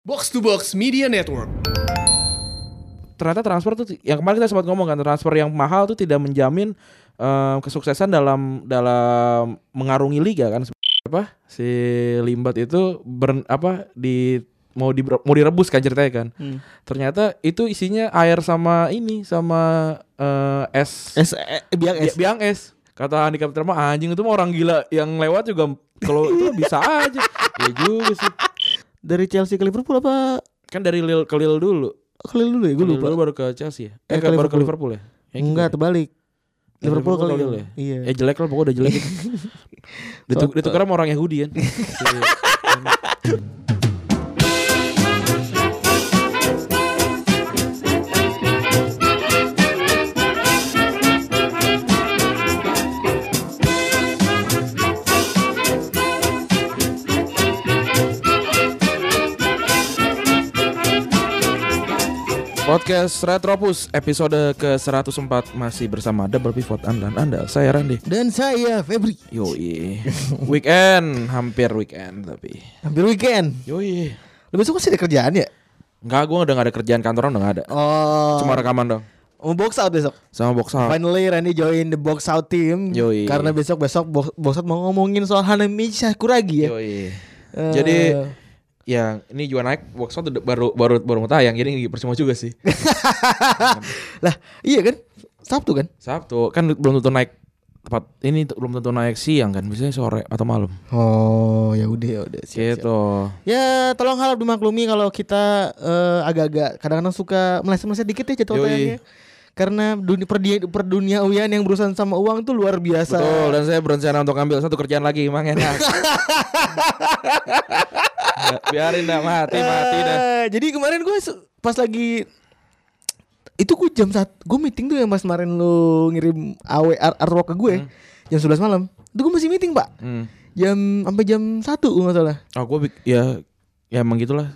Box to Box Media Network. ternyata transfer tuh ti- yang kemarin kita sempat ngomong kan transfer yang mahal tuh tidak menjamin eh, kesuksesan dalam dalam mengarungi liga kan apa si Limbat itu ber, apa di mau di mau direbus kan ceritanya kan Hmm. ternyata itu isinya air sama ini sama eh, es Es, eh, biang Bi- es. biang es kata Andika Putra mah anjing itu mah orang gila yang lewat juga kalau itu bisa aja ya juga sih Dari Chelsea ke Liverpool apa kan dari Lille ke Lille dulu ke Lille dulu ya? Gue Lille lupa. dulu baru ke Chelsea ya eh, Eh, ke baru ke Liverpool. Liverpool ya Ya, gitu Enggak, ya. terbalik. Liverpool ke Liverpool Lille. ke Lille Iya. Eh jelek lah pokoknya udah jelek itu. Dituk, Soto. ditukar sama orang Yahudi kan. Podcast Retropus episode ke-104 masih bersama Double Pivot Andalan Anda. Saya Randy. Dan saya Febri. Yoi. Weekend, hampir weekend tapi. Hampir weekend. Yoi. Lebih suka sih ada kerjaan ya? Enggak, gua udah gak ada kerjaan kantoran udah gak ada. Oh. Cuma rekaman dong. mau box out besok. Sama box out. Finally Randy join the box out team. Yoi. Karena besok besok box, box out mau ngomongin soal Hanami Shakuragi ya. Yoi. Eh, Jadi yang ini juga naik box out udah- baru baru baru mau tayang jadi percuma juga sih. lah iya kan Sabtu kan? Sabtu kan belum tentu naik tepat ini t- belum tentu naik siang kan biasanya sore atau malam. Oh ya udah ya udah Gitu. Ya tolong harap dimaklumi kalau kita eh, agak-agak kadang-kadang suka meleset-meleset dikit ya Yoi. jadwal tayangnya. Karena dunia perdunia perduniawian yang berurusan sama uang tuh luar biasa. Betul dan saya berencana untuk ambil satu kerjaan lagi emang enak. Biarin dah mati mati dah. Eh, jadi kemarin gue se- pas lagi itu gue jam saat gue meeting tuh yang pas kemarin lu ngirim aw ar- artwork ke gue jam 11 malam. Itu gue masih meeting, Pak. Hmm. Jam sampai jam 1 gue nggak salah. Oh gue bik- ya ya emang gitulah.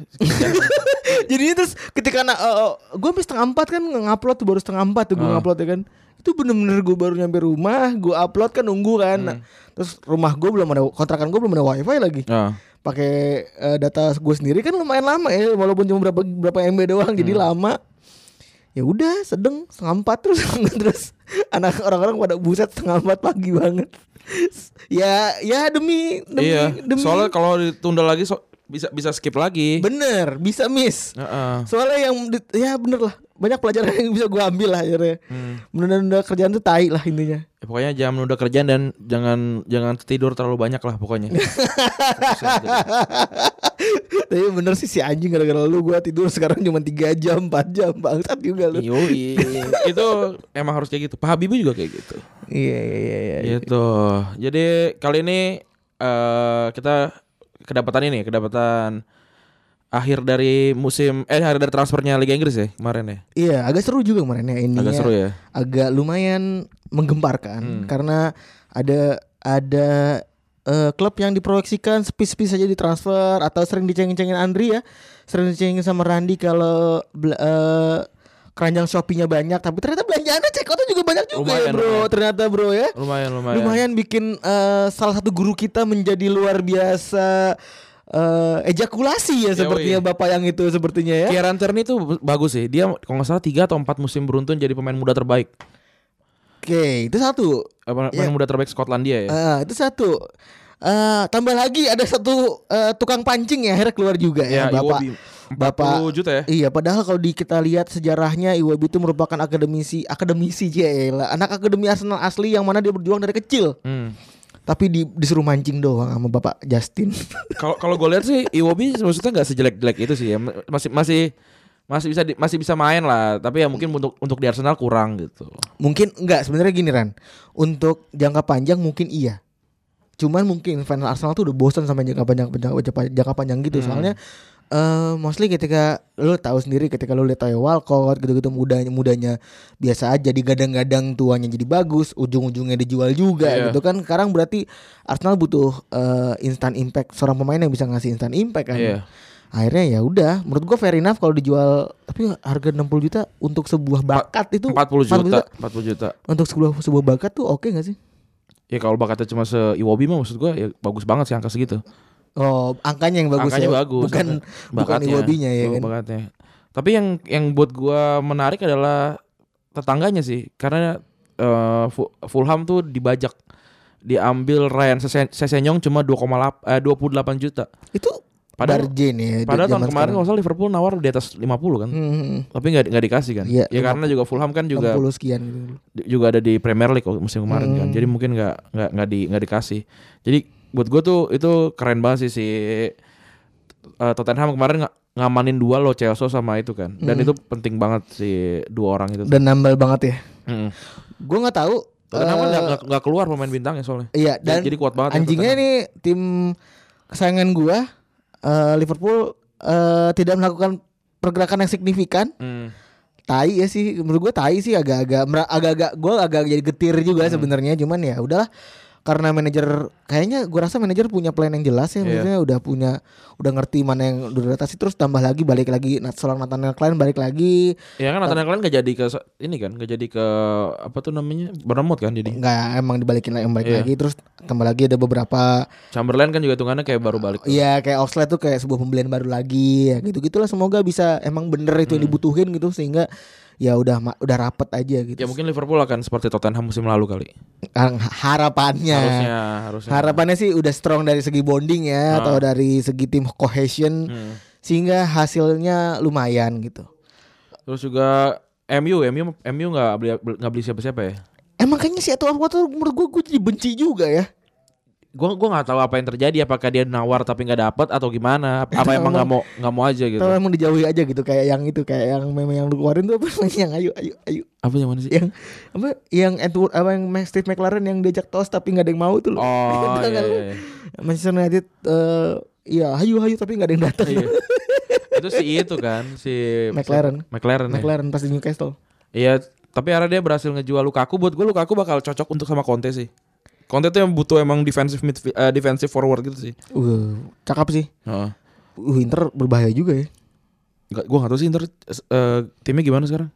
Jadi terus ketika na- eh, eh, gue sampai setengah empat kan ngupload tuh baru setengah empat tuh gue Ah. ngupload ya kan. Itu bener-bener gue baru nyampe rumah, gue upload kan nunggu kan. Hmm. Nah, Terus rumah gue belum ada kontrakan gue belum ada wifi lagi. Ah. Pakai eh, data gue sendiri kan lumayan lama ya, walaupun cuma berapa berapa MB doang, jadi Hmm. lama. Ya udah, sedeng setengah empat terus terus anak orang-orang pada buset setengah empat pagi banget. ya ya demi demi iya. demi Soalnya kalau ditunda lagi so- bisa bisa skip lagi. bener bisa miss. Heeh. Soalnya yang di- ya bener lah banyak pelajaran yang bisa gua ambil lah akhirnya. Hmm. Menunda-nunda kerjaan tuh tai lah intinya. Ya, pokoknya jangan menunda kerjaan dan jangan jangan tidur terlalu banyak lah pokoknya. Fokusnya gitu. Tapi bener sih si anjing gara-gara lu gua tidur sekarang cuma 3 jam 4 jam bangsat juga Iya. lu. Yoi. itu emang harus kayak gitu. Pak Habibie juga kayak gitu. Iya iya iya. iya. Gitu. Jadi kali ini eh kita kedapatan ini, kedapatan akhir dari musim eh akhir dari transfernya Liga Inggris ya kemarin ya. Iya agak seru juga kemarin ya ini. Agak seru ya. Agak lumayan Hmm. menggemparkan karena ada ada eh, klub yang diproyeksikan sepis-sepis saja ditransfer atau sering diceng-cengin Andri ya. Sering dicengin sama Randi kalau bela- eh, keranjang Shopee-nya banyak tapi ternyata belanjaannya check out juga banyak juga ya Lumayan, bro. lumayan. Ternyata bro ya. Lumayan lumayan. Lumayan bikin eh, salah satu guru kita menjadi luar biasa eh, ejakulasi ya Yoi. sepertinya Bapak yang itu sepertinya ya. Kieran Tierney itu bagus sih. Dia kalau nggak salah 3 atau 4 musim beruntun jadi pemain muda terbaik. Oke, itu satu. Eh, Pemain Iya. pemain muda terbaik Skotlandia ya. Ah, itu satu. Eh tambah lagi ada satu eh, tukang pancing ya akhirnya keluar juga Ya, ya, bapak. Iwobi. 40 juta ya. Iya, padahal kalau di, kita lihat sejarahnya Iwobi itu merupakan akademisi, akademisi jelah, anak akademi Arsenal asli yang mana dia berjuang dari kecil. Hmm. Tapi di- disuruh mancing doang sama bapak Justin. Kalau kalau gue lihat sih Iwobi maksudnya nggak sejelek-jelek itu sih ya. Masih masih masih bisa di- masih bisa main lah, tapi ya mungkin untuk untuk di Arsenal kurang gitu. mungkin enggak sebenarnya gini Ran. Untuk jangka panjang mungkin iya. Cuman mungkin fans Arsenal tuh udah bosan sama jangka panjang jangka, jangka- jangka panjang Hmm. gitu. Soalnya eh mostly ketika lu tahu sendiri ketika lu lihat Tayo Walcott gitu-gitu mudanya mudanya biasa aja digadang-gadang tuanya jadi bagus, ujung-ujungnya dijual juga Iya. gitu kan. Sekarang berarti Arsenal butuh eh, instant impact seorang pemain yang bisa ngasih instant impact kan. Iya. Akhirnya ya udah, menurut gua fair enough kalau dijual tapi harga 60 juta untuk sebuah bakat itu 40 juta, 40 juta. untuk sebuah sebuah bakat tuh oke nggak sih? Ya kalau bakatnya cuma se Iwobi mah maksud gue ya bagus banget sih angka segitu. Oh, angkanya yang bagus. Angkanya ya. bagus. Bukan bukan Bakatnya. Iwobinya ya kan. Bakatnya. Tapi yang yang buat gua menarik adalah tetangganya sih karena eh, Fu- Fulham tuh dibajak diambil Ryan Sese- Sesenyong cuma 2,8 eh, 28 juta. Itu Padahal Barjen ya. padahal tahun zaman kemarin sekarang. kalau nggak salah Liverpool nawar di atas 50 kan. Hmm, Tapi nggak nggak dikasih kan. Iya, ya karena juga Fulham kan juga 60 sekian gitu. juga ada di Premier League waktu musim kemarin kan. Hmm. Jadi mungkin nggak nggak nggak di nggak dikasih. Jadi buat gue tuh itu keren banget sih si eh, Tottenham kemarin nga- ngamanin dua lo Celso sama itu kan. Dan Hmm. itu penting banget si dua orang itu. Dan nambal banget ya. Mm. Gue nggak tahu. Tottenham kan eh, nggak- nggak nggak keluar pemain bintangnya soalnya. Iya dan jadi kuat banget. ya anjingnya Tottenham. ini tim kesayangan gua eh, Liverpool eh, tidak melakukan pergerakan yang signifikan. Mm. Tai ya sih menurut gua tai sih agak-agak mera- agak-agak gua agak jadi getir juga Hmm. sebenarnya cuman ya udahlah karena manajer kayaknya gua rasa manajer punya plan yang jelas Iya. ya maksudnya udah punya udah ngerti mana yang udah diatasi terus tambah lagi balik lagi Nat seorang Nathaniel Klein balik lagi Ya kan Nathan kalian nggak jadi ke ini kan, nggak jadi ke apa tuh namanya Bournemouth kan jadi. nggak emang dibalikin lagi balik Iya. lagi terus tambah lagi ada beberapa Chamberlain kan juga hitungannya kayak baru balik. Iya kayak Oxlade tuh kayak sebuah pembelian baru lagi ya gitu gitulah semoga bisa emang bener itu Hmm. yang dibutuhin gitu sehingga ya udah ma- udah rapet aja gitu Ya mungkin Liverpool akan seperti Tottenham musim lalu kali. Har- harapannya Harusnya, harusnya. harapannya sih udah strong dari segi bonding Ah. ya atau dari segi tim cohesion Mm. sehingga hasilnya lumayan gitu Terus juga MU, MU, MU nggak beli nggak beli siapa-siapa ya? emang kayaknya si Edward Water menurut gue gue jadi benci juga ya Gue gua nggak tahu apa yang terjadi. Apakah dia nawar tapi nggak dapet atau gimana? Apa Atau emang emang- nggak mau nggak mau aja gitu? atau emang dijauhi aja gitu kayak yang itu kayak yang meme yang lu keluarin tuh apa namanya yang ayo ayo ayo Apa yang mana sih? yang apa yang Edward apa yang Steve McLaren yang diajak tos tapi nggak ada yang mau tuh loh Oh Tau iya, nggak lu? iya, iya. Manchester United eh ya hayu hayu tapi nggak ada yang datang. Iya. itu si itu kan si McLaren. si- McLaren. ya. McLaren pasti Newcastle. Iya. Tapi akhirnya dia berhasil ngejual Lukaku. Buat gue Lukaku bakal cocok untuk sama Conte sih. Conte tuh yang butuh emang defensive midfield, eh, defensive forward gitu sih. Uh, cakap sih. Heeh. Uh, Inter berbahaya juga ya. Nggak- Gue nggak tahu sih Inter eh, timnya gimana sekarang.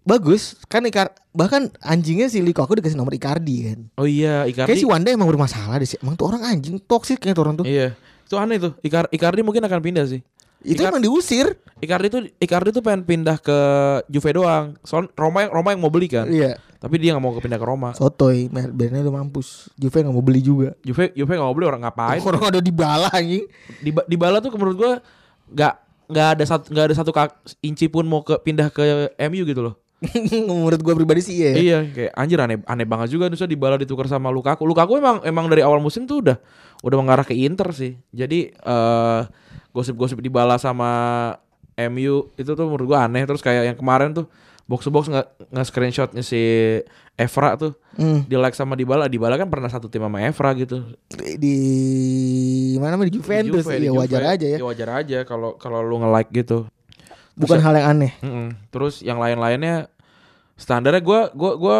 Bagus, kan Ikar bahkan anjingnya si Lukaku dikasih nomor Icardi kan. Oh iya, Icardi. Kayak si Wanda emang bermasalah deh sih. Emang tuh orang anjing toksik kayak tuh orang tuh. Iya. Itu aneh tuh. Icar Icardi mungkin akan pindah sih. Itu Icar- emang diusir. Icardi tuh Icardi tuh pengen pindah ke Juve doang. Soal Roma yang Roma yang mau beli kan. Iya. Tapi dia nggak mau pindah ke Roma. Sotoy, Mer- Bernardo udah mampus. Juve nggak mau beli juga. Juve Juve nggak mau beli orang ngapain? Orang ada di bala anjing. Di di bala tuh menurut gua nggak nggak ada satu nggak ada satu kak- inci pun mau ke pindah ke MU gitu loh. Menurut gua pribadi sih iya. ya. Iya, kayak anjir aneh aneh banget juga Nusa di bala ditukar sama Lukaku. Lukaku emang emang dari awal musim tuh udah udah mengarah ke Inter sih. Jadi eh gosip-gosip di bala sama MU itu tuh menurut gua aneh terus kayak yang kemarin tuh box to box nggak nggak screenshotnya si Evra tuh Hmm. di like sama Dybala Dybala kan pernah satu tim sama Evra gitu Di, di mana mana di Di Juventus. Juve, di Iya Juve. wajar aja ya. Ya wajar aja kalau kalau lu nge like gitu Bukan hal yang aneh. Mm-mm. Terus yang lain-lainnya standarnya gue gua gua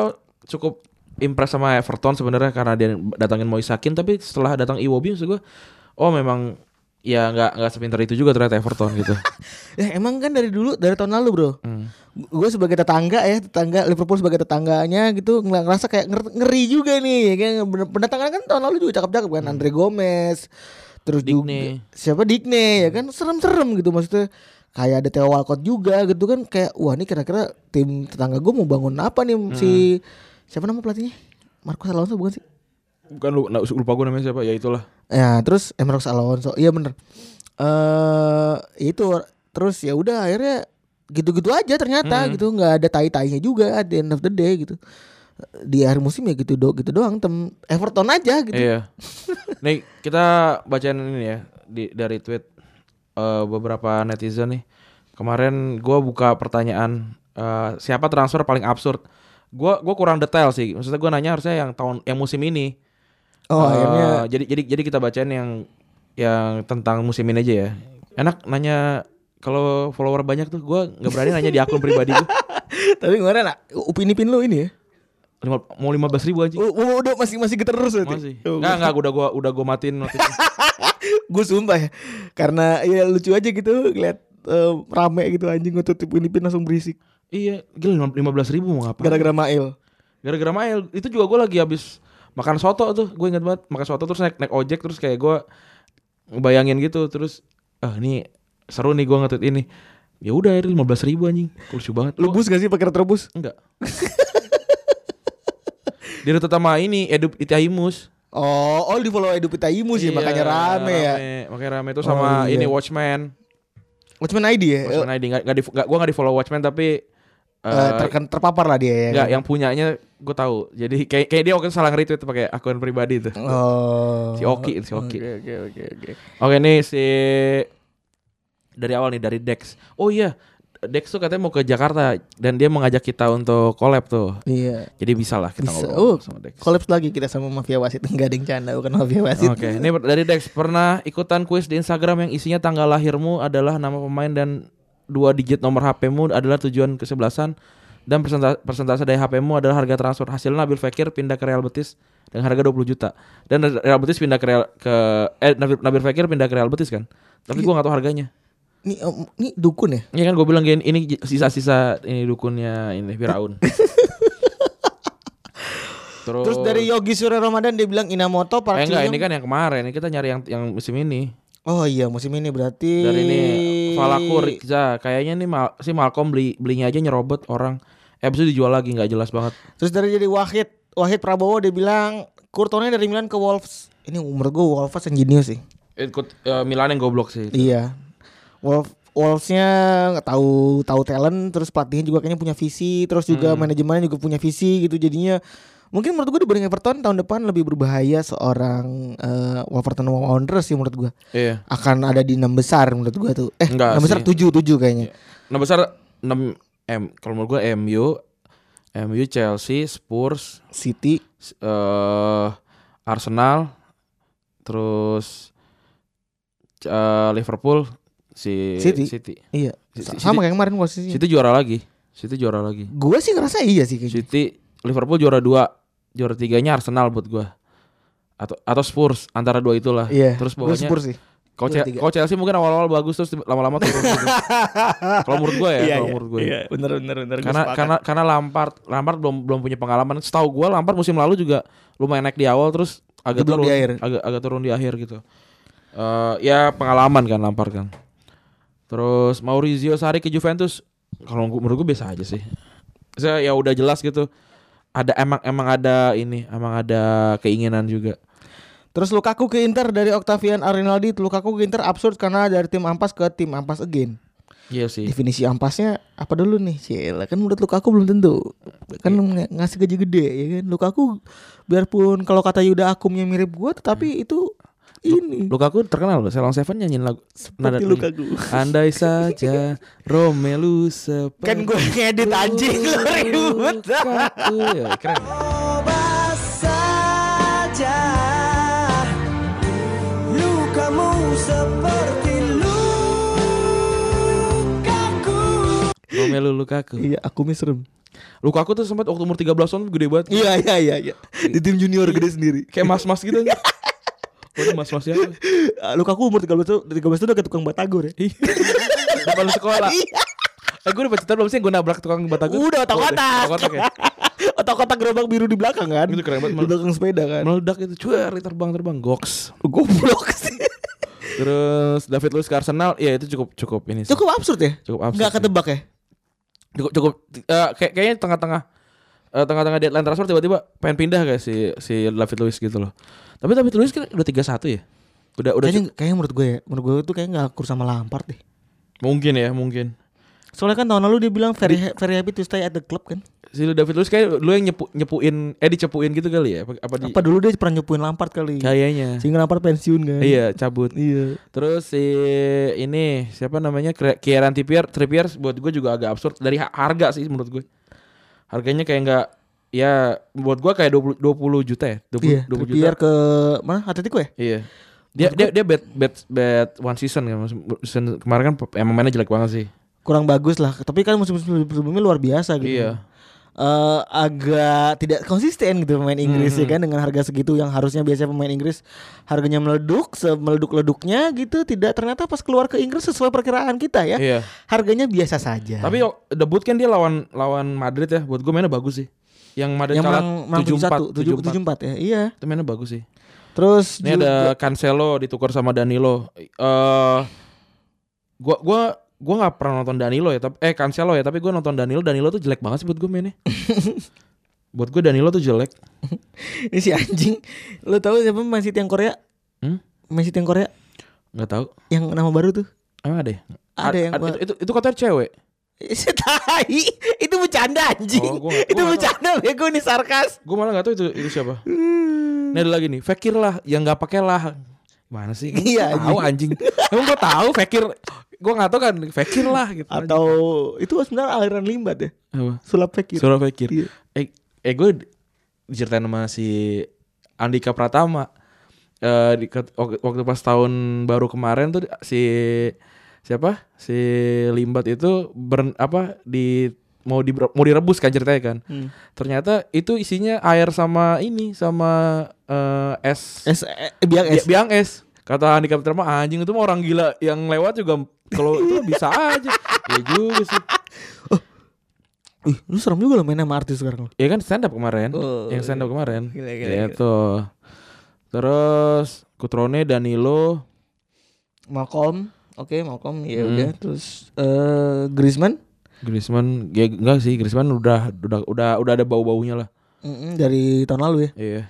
cukup impress sama Everton sebenarnya karena dia datangin Moisakin tapi setelah datang Iwobi maksud gue oh memang ya nggak nggak sepintar itu juga ternyata Everton gitu. Ya emang kan dari dulu dari tahun lalu bro. Gue sebagai tetangga ya tetangga Liverpool sebagai tetangganya gitu ngel- ngerasa kayak nger- ngeri juga nih. ya Kan Bener- pendatangan kan tahun lalu juga cakep-cakep kan Andre Gomez. Terus juga Digne. siapa Digne ya kan serem-serem gitu maksudnya. Kayak ada Theo Walcott juga gitu kan kayak wah ini kira-kira tim tetangga gue mau bangun apa nih si siapa nama pelatihnya? Marcos Alonso bukan sih? Bukan lu nah, lupa gue namanya siapa ya itulah. Ya terus Emerson Alonso, iya bener. Eh itu terus ya udah akhirnya gitu-gitu aja ternyata Hmm. gitu nggak ada tai-tainya juga at the end of the day gitu. Di akhir musim ya gitu do gitu doang tem Everton aja gitu. Iya. Nih kita bacain ini ya di, dari tweet eh, beberapa netizen nih. Kemarin gue buka pertanyaan eh, siapa transfer paling absurd. Gue gua kurang detail sih. Maksudnya gue nanya harusnya yang tahun yang musim ini. Eh, Oh akhirnya jadi jadi jadi kita bacain yang yang tentang musim ini aja ya. Enak nanya kalau follower banyak tuh gue nggak berani nanya di akun pribadi gue. tapi kemarin lah upin ipin lu ini ya. Lima- Mau lima belas ribu aja. U- u- udah masih masih geter terus berarti. Oh, Masih. Enggak enggak udah gue udah gue matiin. notifnya. Gue sumpah ya karena ya lucu aja gitu lihat rame gitu anjing ngetut upin ipin langsung berisik iya gila lima belas ribu mau ngapain? gara-gara Mail. Gara-gara Mael itu juga gue lagi habis makan soto tuh, gue inget banget makan soto terus naik naik ojek terus kayak gue bayangin gitu terus ah ini seru nih gua nge-tweet ini. Ya udah akhirnya 15 ribu anjing. Lucu banget. Lu bus gak sih pakai retrobus? Enggak. Dia tetap sama ini Edu Itaimus. Oh, oh di follow Edu Pitaimu sih makanya Iya, rame, ya. Makanya rame itu Oh, sama iya. ini Watchman. Watchman ID ya. Watchman ID nggak nggak di nggak- gua nggak di follow Watchman tapi Eh, eh, terken- terpapar lah dia ya. nggak yang punyanya gue tahu. Jadi kayak kayak dia waktu itu salah nge-retweet pakai akun pribadi tuh. Oh. Si Oki, si Oki. Oke, oke, oke, oke. Oke nih si dari awal nih dari Dex. Oh iya, Dex tuh katanya mau ke Jakarta dan dia mengajak kita untuk collab tuh. Iya. Jadi bisa lah kita Bisa. ngobrol Oh, sama Dex. Oke, Kolaps lagi kita sama Mafia Wasit Enggak ada yang canda bukan Mafia Wasit. ini dari Dex pernah ikutan kuis di Instagram yang isinya tanggal lahirmu adalah nama pemain dan dua digit nomor HPmu adalah tujuan kesebelasan dan persenta- persentase dari HPmu adalah harga transfer. Hasilnya Nabil Fekir pindah ke Real Betis dengan harga 20 juta. Dan Real Betis pindah ke Real, ke eh Nabil, Nabil Fekir pindah ke Real Betis kan. Tapi gua nggak tahu harganya. Ini om, ini dukun ya? Iya kan gue bilang gini, ini j- sisa-sisa ini dukunnya ini Firaun. Terus, Terus dari Yogi Surya Ramadan dia bilang Inamoto eh, Park enggak Shin-young- ini kan yang kemarin, ini kita nyari yang yang musim ini. Oh iya musim ini berarti Dari ini Falaku Rikza, kayaknya nih Mal- si Malcolm beli belinya aja nyerobot orang. Eh abis itu dijual lagi nggak jelas banget. Terus dari jadi Wahid Wahid Prabowo dia bilang Kurtonnya dari Milan ke Wolves Ini umur gue Wolves yang jenius sih Ikut eh, Milan yang goblok sih. Iya Wolf Wolvesnya nggak tahu tahu talent terus pelatihnya juga kayaknya punya visi terus juga Hmm. manajemennya juga punya visi gitu jadinya mungkin menurut gue dibanding Everton tahun depan lebih berbahaya seorang eh, Wolverton Wanderers sih menurut gue Iya. akan ada di enam besar menurut gue tuh eh Enggak enam besar sih. tujuh tujuh kayaknya Nah besar 6 M kalau menurut gue MU, MU Chelsea, Spurs, City S- eh Arsenal terus eh, Liverpool si City. City. iya City- sama kayak kemarin posisinya City juara lagi. City juara lagi. gue sih ngerasa iya sih kayaknya City Liverpool juara dua juara tiganya Arsenal buat gua. Atau atau Spurs antara dua itulah. Iya. Terus Gue bawahnya Spurs sih. kalau Ce- juara tiga. kalau Chelsea mungkin awal-awal bagus terus lama-lama turun. gitu. kalau menurut gua ya, kalau menurut gua. ya. Iya, bener bener bener. Karena karena karena Lampard Lampard belum belum punya pengalaman. Setahu gua Lampard musim lalu juga lumayan naik di awal terus agak Jeblok turun di akhir. agak agak turun di akhir gitu. Eh ya pengalaman kan Lampard kan. Terus Maurizio Sarri ke Juventus kalau gua- menurut gua biasa aja sih. Saya ya udah jelas gitu. Ada emang emang ada ini, emang ada keinginan juga. Terus Lukaku ke Inter dari Octavian Arinaldi. Lukaku ke Inter absurd karena dari tim ampas ke tim ampas again. Iya sih. Definisi ampasnya apa dulu nih? Cila kan menurut Lukaku belum tentu. Kan ng- ngasih gaji gede ya kan. Lukaku biarpun kalau kata Yuda Akumnya mirip gua tetapi itu ini Lukaku terkenal loh, Selong Seven nyanyiin lagu seperti Lukaku. Andai saja Romelu seperti Kan gue ngedit anjing lu ribut. Lukaku. Ya, keren. Romelu Lukaku. Iya, Akumnya serem. Lukaku tuh sempat waktu umur 13 tahun gede banget. Iya, iya, iya, iya. Di tim junior gede sendiri. Kayak mas-mas gitu. Iya. Udah mas-mas ya. Ah, Lukaku umur 13 tahun, 13 tahun udah kayak tukang batagor ya. Depan sekolah. Eh gue udah cerita belum sih gue nabrak tukang batagor? Iya. Udah, otak-otak. Otak-otak ya. Otak-otak gerobak biru di belakang kan? Itu keren banget, Di Mal. belakang sepeda kan. Meledak itu cuer terbang-terbang goks. Goblok sih. Terus David Luiz ke Arsenal, ya itu cukup cukup ini sih. Cukup absurd ya? Cukup absurd Enggak sih. ketebak ya? cukup cukup eh, kayak kayaknya tengah-tengah eh, tengah-tengah deadline transfer tiba-tiba pengen pindah kayak si si David Luiz gitu loh. Tapi David Luiz kan udah 31 ya. Udah udah Kayaknya, cukup- kayaknya menurut gue ya, menurut gue itu kayaknya gak akur sama Lampard deh. mungkin ya, mungkin. Soalnya kan tahun lalu dia bilang very, ha- very happy to stay at the club kan. Si David Luiz kayak lu yang nyepu, nyepuin eh dicepuin gitu kali ya apa, apa di Apa dulu dia pernah nyepuin Lampard kali. kayaknya. Sehingga Lampard pensiun kan. Iya, cabut. Iya. Terus si ini siapa namanya Kre- Kieran Trippier, Trippier buat gue juga agak absurd dari ha- harga sih menurut gue. Harganya kayak nggak ya buat gue kayak 20 20 juta ya, 20, Iya, 20 juta. Trippier ke mana? Atletico ya? Iya. Dia dia dia bad bad bad one season kan. Season kemarin kan pe- emang mainnya jelek banget sih. Kurang bagus lah, tapi kan musim-musim sebelumnya luar biasa gitu. Iya. eh agak tidak konsisten gitu pemain Inggris Hmm. ya kan dengan harga segitu yang harusnya biasanya pemain Inggris harganya meleduk meleduk leduknya gitu tidak ternyata pas keluar ke Inggris sesuai perkiraan kita ya Iya. harganya biasa saja Tapi yo- debut kan dia lawan lawan Madrid ya. Buat gue mainnya bagus sih. Yang Madrid yang kalah menang menang 74 tujuh 74. empat ya iya Itu mainnya bagus sih. Terus Ini Ju- ada Cancelo ditukar sama Danilo. Eh gua gua gua nggak pernah nonton Danilo ya, tapi eh Cancelo ya, tapi gua nonton Danilo, Danilo tuh jelek banget sih buat gua mainnya. buat gua Danilo tuh jelek. ini si anjing. Lu tahu siapa Man City yang Korea? Hmm? Man City yang Korea Nggak tahu. yang nama baru tuh. Emang ada ya? Ada A- yang a- gua- itu, itu, itu katanya cewek. Setai, itu bercanda anjing. Oh, gua nggak- itu gua nggak bercanda bego ini sarkas. Gua malah nggak tahu itu itu siapa. Hmm. Ini ada lagi nih, Fakir lah yang nggak pakai lah. Mana sih? Iya, Tahu anjing. Emang gua tahu Fakir. Gua nggak tahu kan Fakir lah gitu. Atau itu sebenarnya aliran limbat ya. Apa? Sulap fake Suara Fakir. Iya. Eh, eh gue diceritain sama si Andika Pratama. Eh di, ket- wak- waktu pas tahun baru kemarin tuh si siapa? Si Limbat itu ber, apa di mau di mau direbus kan ceritanya kan. Hmm. Ternyata itu isinya air sama ini sama eh, es Es eh, biang Bi- es. biang es. Kata Andika Pratama anjing itu mah orang gila yang lewat juga kalau itu bisa aja. Iya juga sih. Ih, lu serem juga lo main sama artis sekarang lo. Ya kan stand up kemarin. Oh, yang stand up kemarin. Gila, gila, gila. Gitu. Terus Kutrone Danilo Malcolm, oke Malcolm ya Hmm. udah terus eh Griezmann Griezmann ya enggak sih Griezmann udah udah udah udah ada bau-baunya lah. Mm-mm, dari tahun lalu ya. Iya.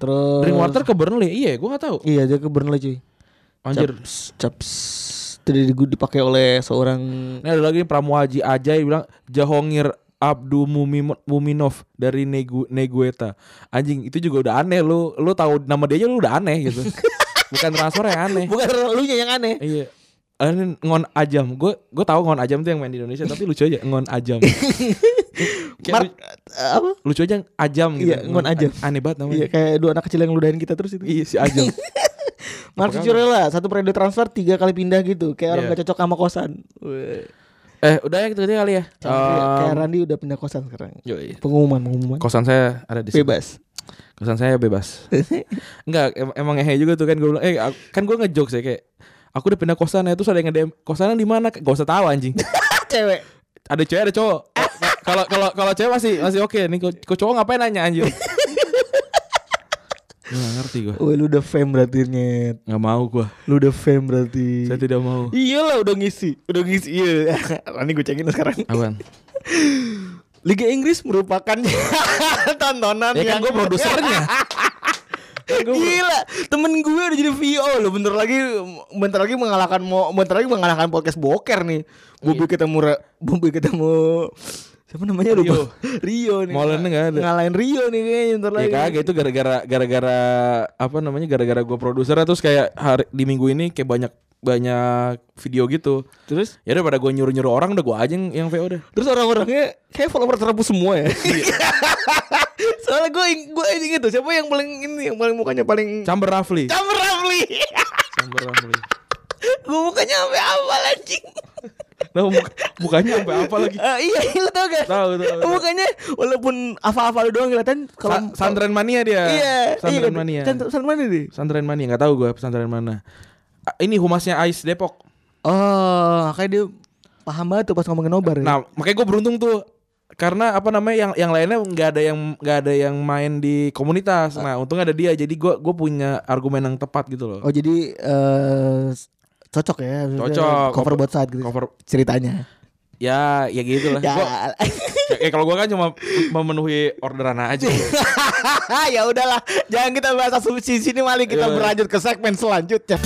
Terus Drinkwater ke Burnley. Iya, gua nggak tahu. Iya, dia ke Burnley cuy. Anjir. Caps, caps. Tidak digu- dipakai oleh seorang Ini ada lagi Pramuaji Ajay bilang Jahongir Abdu Mumim- Muminov dari Negu Negueta. Anjing, itu juga udah aneh lu. Lu tahu nama dia aja lu udah aneh gitu. Bukan transfer yang aneh. bukan lu yang aneh. Iya. Ah, ini ngon ajam. Gue gue tahu ngon ajam tuh yang main di Indonesia, tapi lucu aja ngon ajam. Kayak Mark eh, apa? lu- lucu aja ajam gitu. Iya, Ngon Ajam. A- Aneh banget namanya. Iya, kayak dua anak kecil yang ludahin kita terus itu. Iya, si ajam. Marcus Apa kabar? Jurella satu periode transfer tiga kali pindah gitu, kayak orang Iya. nggak cocok sama kosan. Weh. eh, udah ya gitu aja kali ya. Iya, Kayak- kayak Em, Randy udah pindah kosan sekarang. yoi. Pengumuman, pengumuman. Kosan saya ada di sini. Bebas. Kosan saya bebas. Enggak, em- emang ngehe juga tuh kan gue bilang, eh aku- kan gue ngejokes ya kayak aku udah pindah kosan ya terus ada yang nge-DM kosanan di mana? Gak usah tahu anjing. Ah, Cewek. ada cewek ada cowok kalau kalau kalau cewek masih masih oke nih kok kok cowok ngapain nanya anjir nggak ngerti gue Wah, lu udah fame berarti nyet. nggak mau gue Lu udah fame berarti. saya tidak mau Iyalah udah ngisi, udah ngisi. Iya. Rani gue cekin sekarang. awan Liga Inggris merupakan tontonan ya kan yang gue produsernya Kan gua- Gila, temen gue udah jadi VO loh. Bentar lagi, bentar lagi mengalahkan, mo- bentar lagi mengalahkan podcast boker nih. Iya. Bobi ketemu, Ra- Bobi ketemu siapa namanya Rio. lupa? Rio nih. Molen nggak ada. Ngalahin Rio nih kayaknya bentar ya lagi. kagak itu gara-gara gara-gara apa namanya gara-gara gue produser terus kayak hari di minggu ini kayak banyak banyak video gitu Terus, ya daripada gue nyuruh-nyuruh orang udah gue aja yang, yang VO deh terus orang-orangnya kayak follower terhapus semua ya. Iya. Soalnya gue ing- gue inget tuh siapa yang paling ini yang paling mukanya paling Chamber Rafli Camer Rafli. Chamber Rafli gue mukanya sampai apa anjing? nah muka- mukanya sampai apa lagi Eh, iya, lo tau gak? Tahu, tahu, tahu. Mukanya walaupun apa-apa lu doang kelihatan kalau Sa- Santren mania dia. Iya, Santren iya, mania. San- Santren mania deh. Pesantren mana? Gak tahu gue pesantren mana. Ah, Ini humasnya Ais Depok. Oh, kayak dia paham banget tuh pas ngomongin nobar. ya. Nah, makanya gue beruntung tuh karena apa namanya yang yang lainnya nggak ada yang nggak ada yang main di komunitas. Nah, untung ada dia. Jadi gue gue punya argumen yang tepat gitu loh. Oh, jadi eh, cocok ya. Cocok. Cover buat saat gitu. Cover Ceritanya. ya ya gitu lah. Ya. iya. Gua- ya, kalau gue kan cuma memenuhi orderan aja. ya udahlah, jangan kita bahas asumsi sini mari kita Iya. berlanjut ke segmen selanjutnya.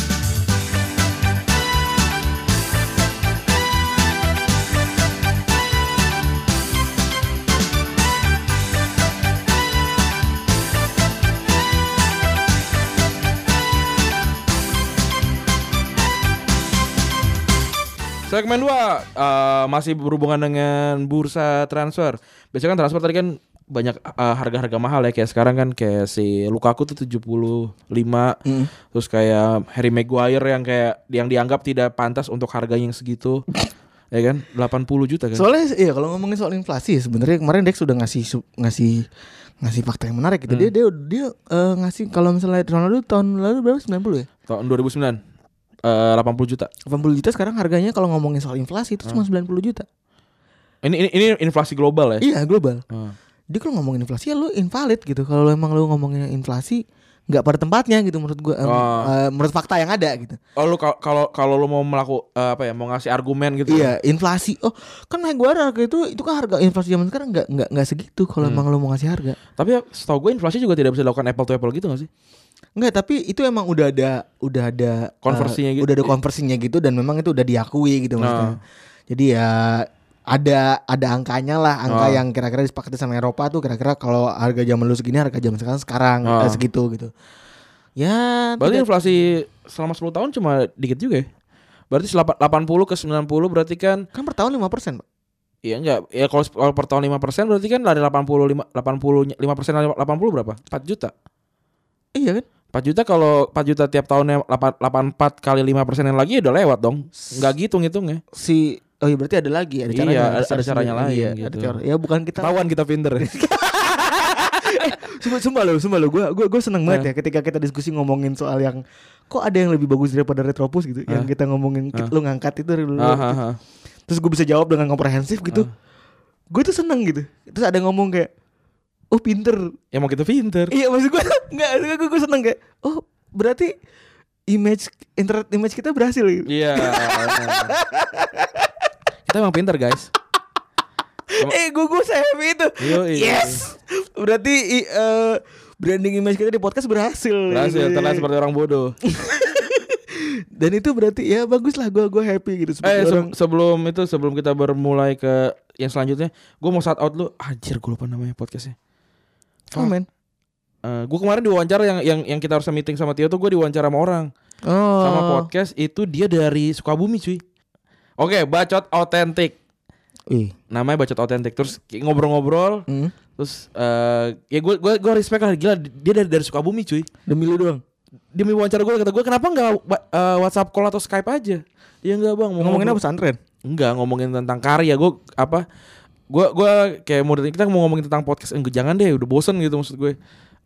Segmen 2 eh, masih berhubungan dengan bursa transfer. Biasanya kan transfer tadi kan banyak eh, harga-harga mahal ya kayak sekarang kan kayak si Lukaku tuh 75 terus kayak Harry Maguire yang kayak yang dianggap tidak pantas untuk harganya yang segitu. ya kan? 80 juta kan. Soalnya iya kalau ngomongin soal inflasi ya, sebenarnya kemarin Dex sudah ngasih su- ngasih ngasih fakta yang menarik gitu. Dia dia dia eh, ngasih kalau misalnya Ronaldo tahun lalu berapa 90 ya? Tahun 2009 eh, 80 juta. 80 juta sekarang harganya kalau ngomongin soal inflasi itu cuma 90 juta. Ini ini, ini inflasi global ya. Iya, global. Hmm. Dia kalau ngomongin inflasi ya lu invalid gitu. Kalau lu emang lu ngomongin inflasi nggak pada tempatnya gitu menurut gua em, Oh. eh, menurut fakta yang ada gitu Oh lu kal- kalau kalau lu mau melaku eh, apa ya mau ngasih argumen gitu. ya? iya inflasi oh kan naik gua harga itu itu kan harga inflasi zaman sekarang nggak nggak nggak segitu kalau emang lo mau ngasih harga Tapi ya, setahu gue inflasi juga tidak bisa dilakukan apple to apple gitu gak sih? Enggak, tapi itu emang udah ada udah ada Konversinya eh, gitu. Udah ada konversinya gitu dan memang itu udah diakui gitu maksudnya. Nah. Jadi ya ada ada angkanya lah, angka Ah. yang kira-kira disepakati sama Eropa tuh kira-kira kalau harga zaman dulu segini, harga zaman sekarang sekarang Ah. eh, segitu gitu. Ya, Berarti tidak- inflasi selama 10 tahun cuma dikit juga ya. Berarti selapa- 80 ke 90 berarti kan kan per tahun 5%, Pak. Iya enggak, ya kalau, kalau per tahun 5% berarti kan dari 85 80 5% dari 80 berapa? 4 juta. Iya kan? 4 juta kalau 4 juta tiap tahunnya 8, 84 kali 5% yang lagi ya udah lewat dong. Enggak gitu ngitungnya. Si Oh iya berarti ada lagi, Iya, ada caranya. ada- ada caranya lain Iya, gitu. ada cara. Ya bukan kita Ketahuan kita pinter. Sumpah, sumpah lo, sumpah lo. Gue gue gue seneng banget ya ketika kita diskusi ngomongin soal yang kok ada yang lebih bagus daripada Retropus gitu. Yang kita ngomongin kita, lo ngangkat itu dari dulu. Aha, aha. Terus gue bisa jawab dengan komprehensif gitu. Ah. Gue tuh seneng gitu. Terus ada ngomong kayak oh pinter. Ya mau kita pinter. Iya maksud gue nggak gue gue seneng kayak oh berarti image internet image kita berhasil gitu. Iya. kita emang pinter, guys. Cuma- Eh gue gue saya happy itu. Yoi. Yes. Berarti i- eh, branding image kita di podcast berhasil. gitu. Berhasil terlihat seperti orang bodoh. Dan itu berarti ya bagus lah gue gue happy gitu Eh seperti se- orang sebelum itu sebelum kita bermulai ke yang selanjutnya, gue mau shout out lu. Anjir, gue lupa namanya podcastnya. Oh, men. Eh, gue kemarin diwawancara yang yang yang kita harusnya meeting sama Tio tuh gue diwawancara sama orang Oh. sama podcast itu dia dari Sukabumi cuy. Oke, bacot otentik. Ih. Namanya bacot otentik. Terus kayak ngobrol-ngobrol, Hmm. terus eh ya gue gue gue respect lah gila dia dari dari Sukabumi cuy. Demi lu doang. Dia mau wawancara gue kata gue kenapa nggak ba- eh, WhatsApp call atau Skype aja? Dia nggak bang. Mau Ngomongin ngobrol." apa pesantren? Enggak ngomongin tentang karya gue apa gue gue kayak mau kita mau ngomongin tentang podcast enggak jangan deh udah bosen gitu maksud gue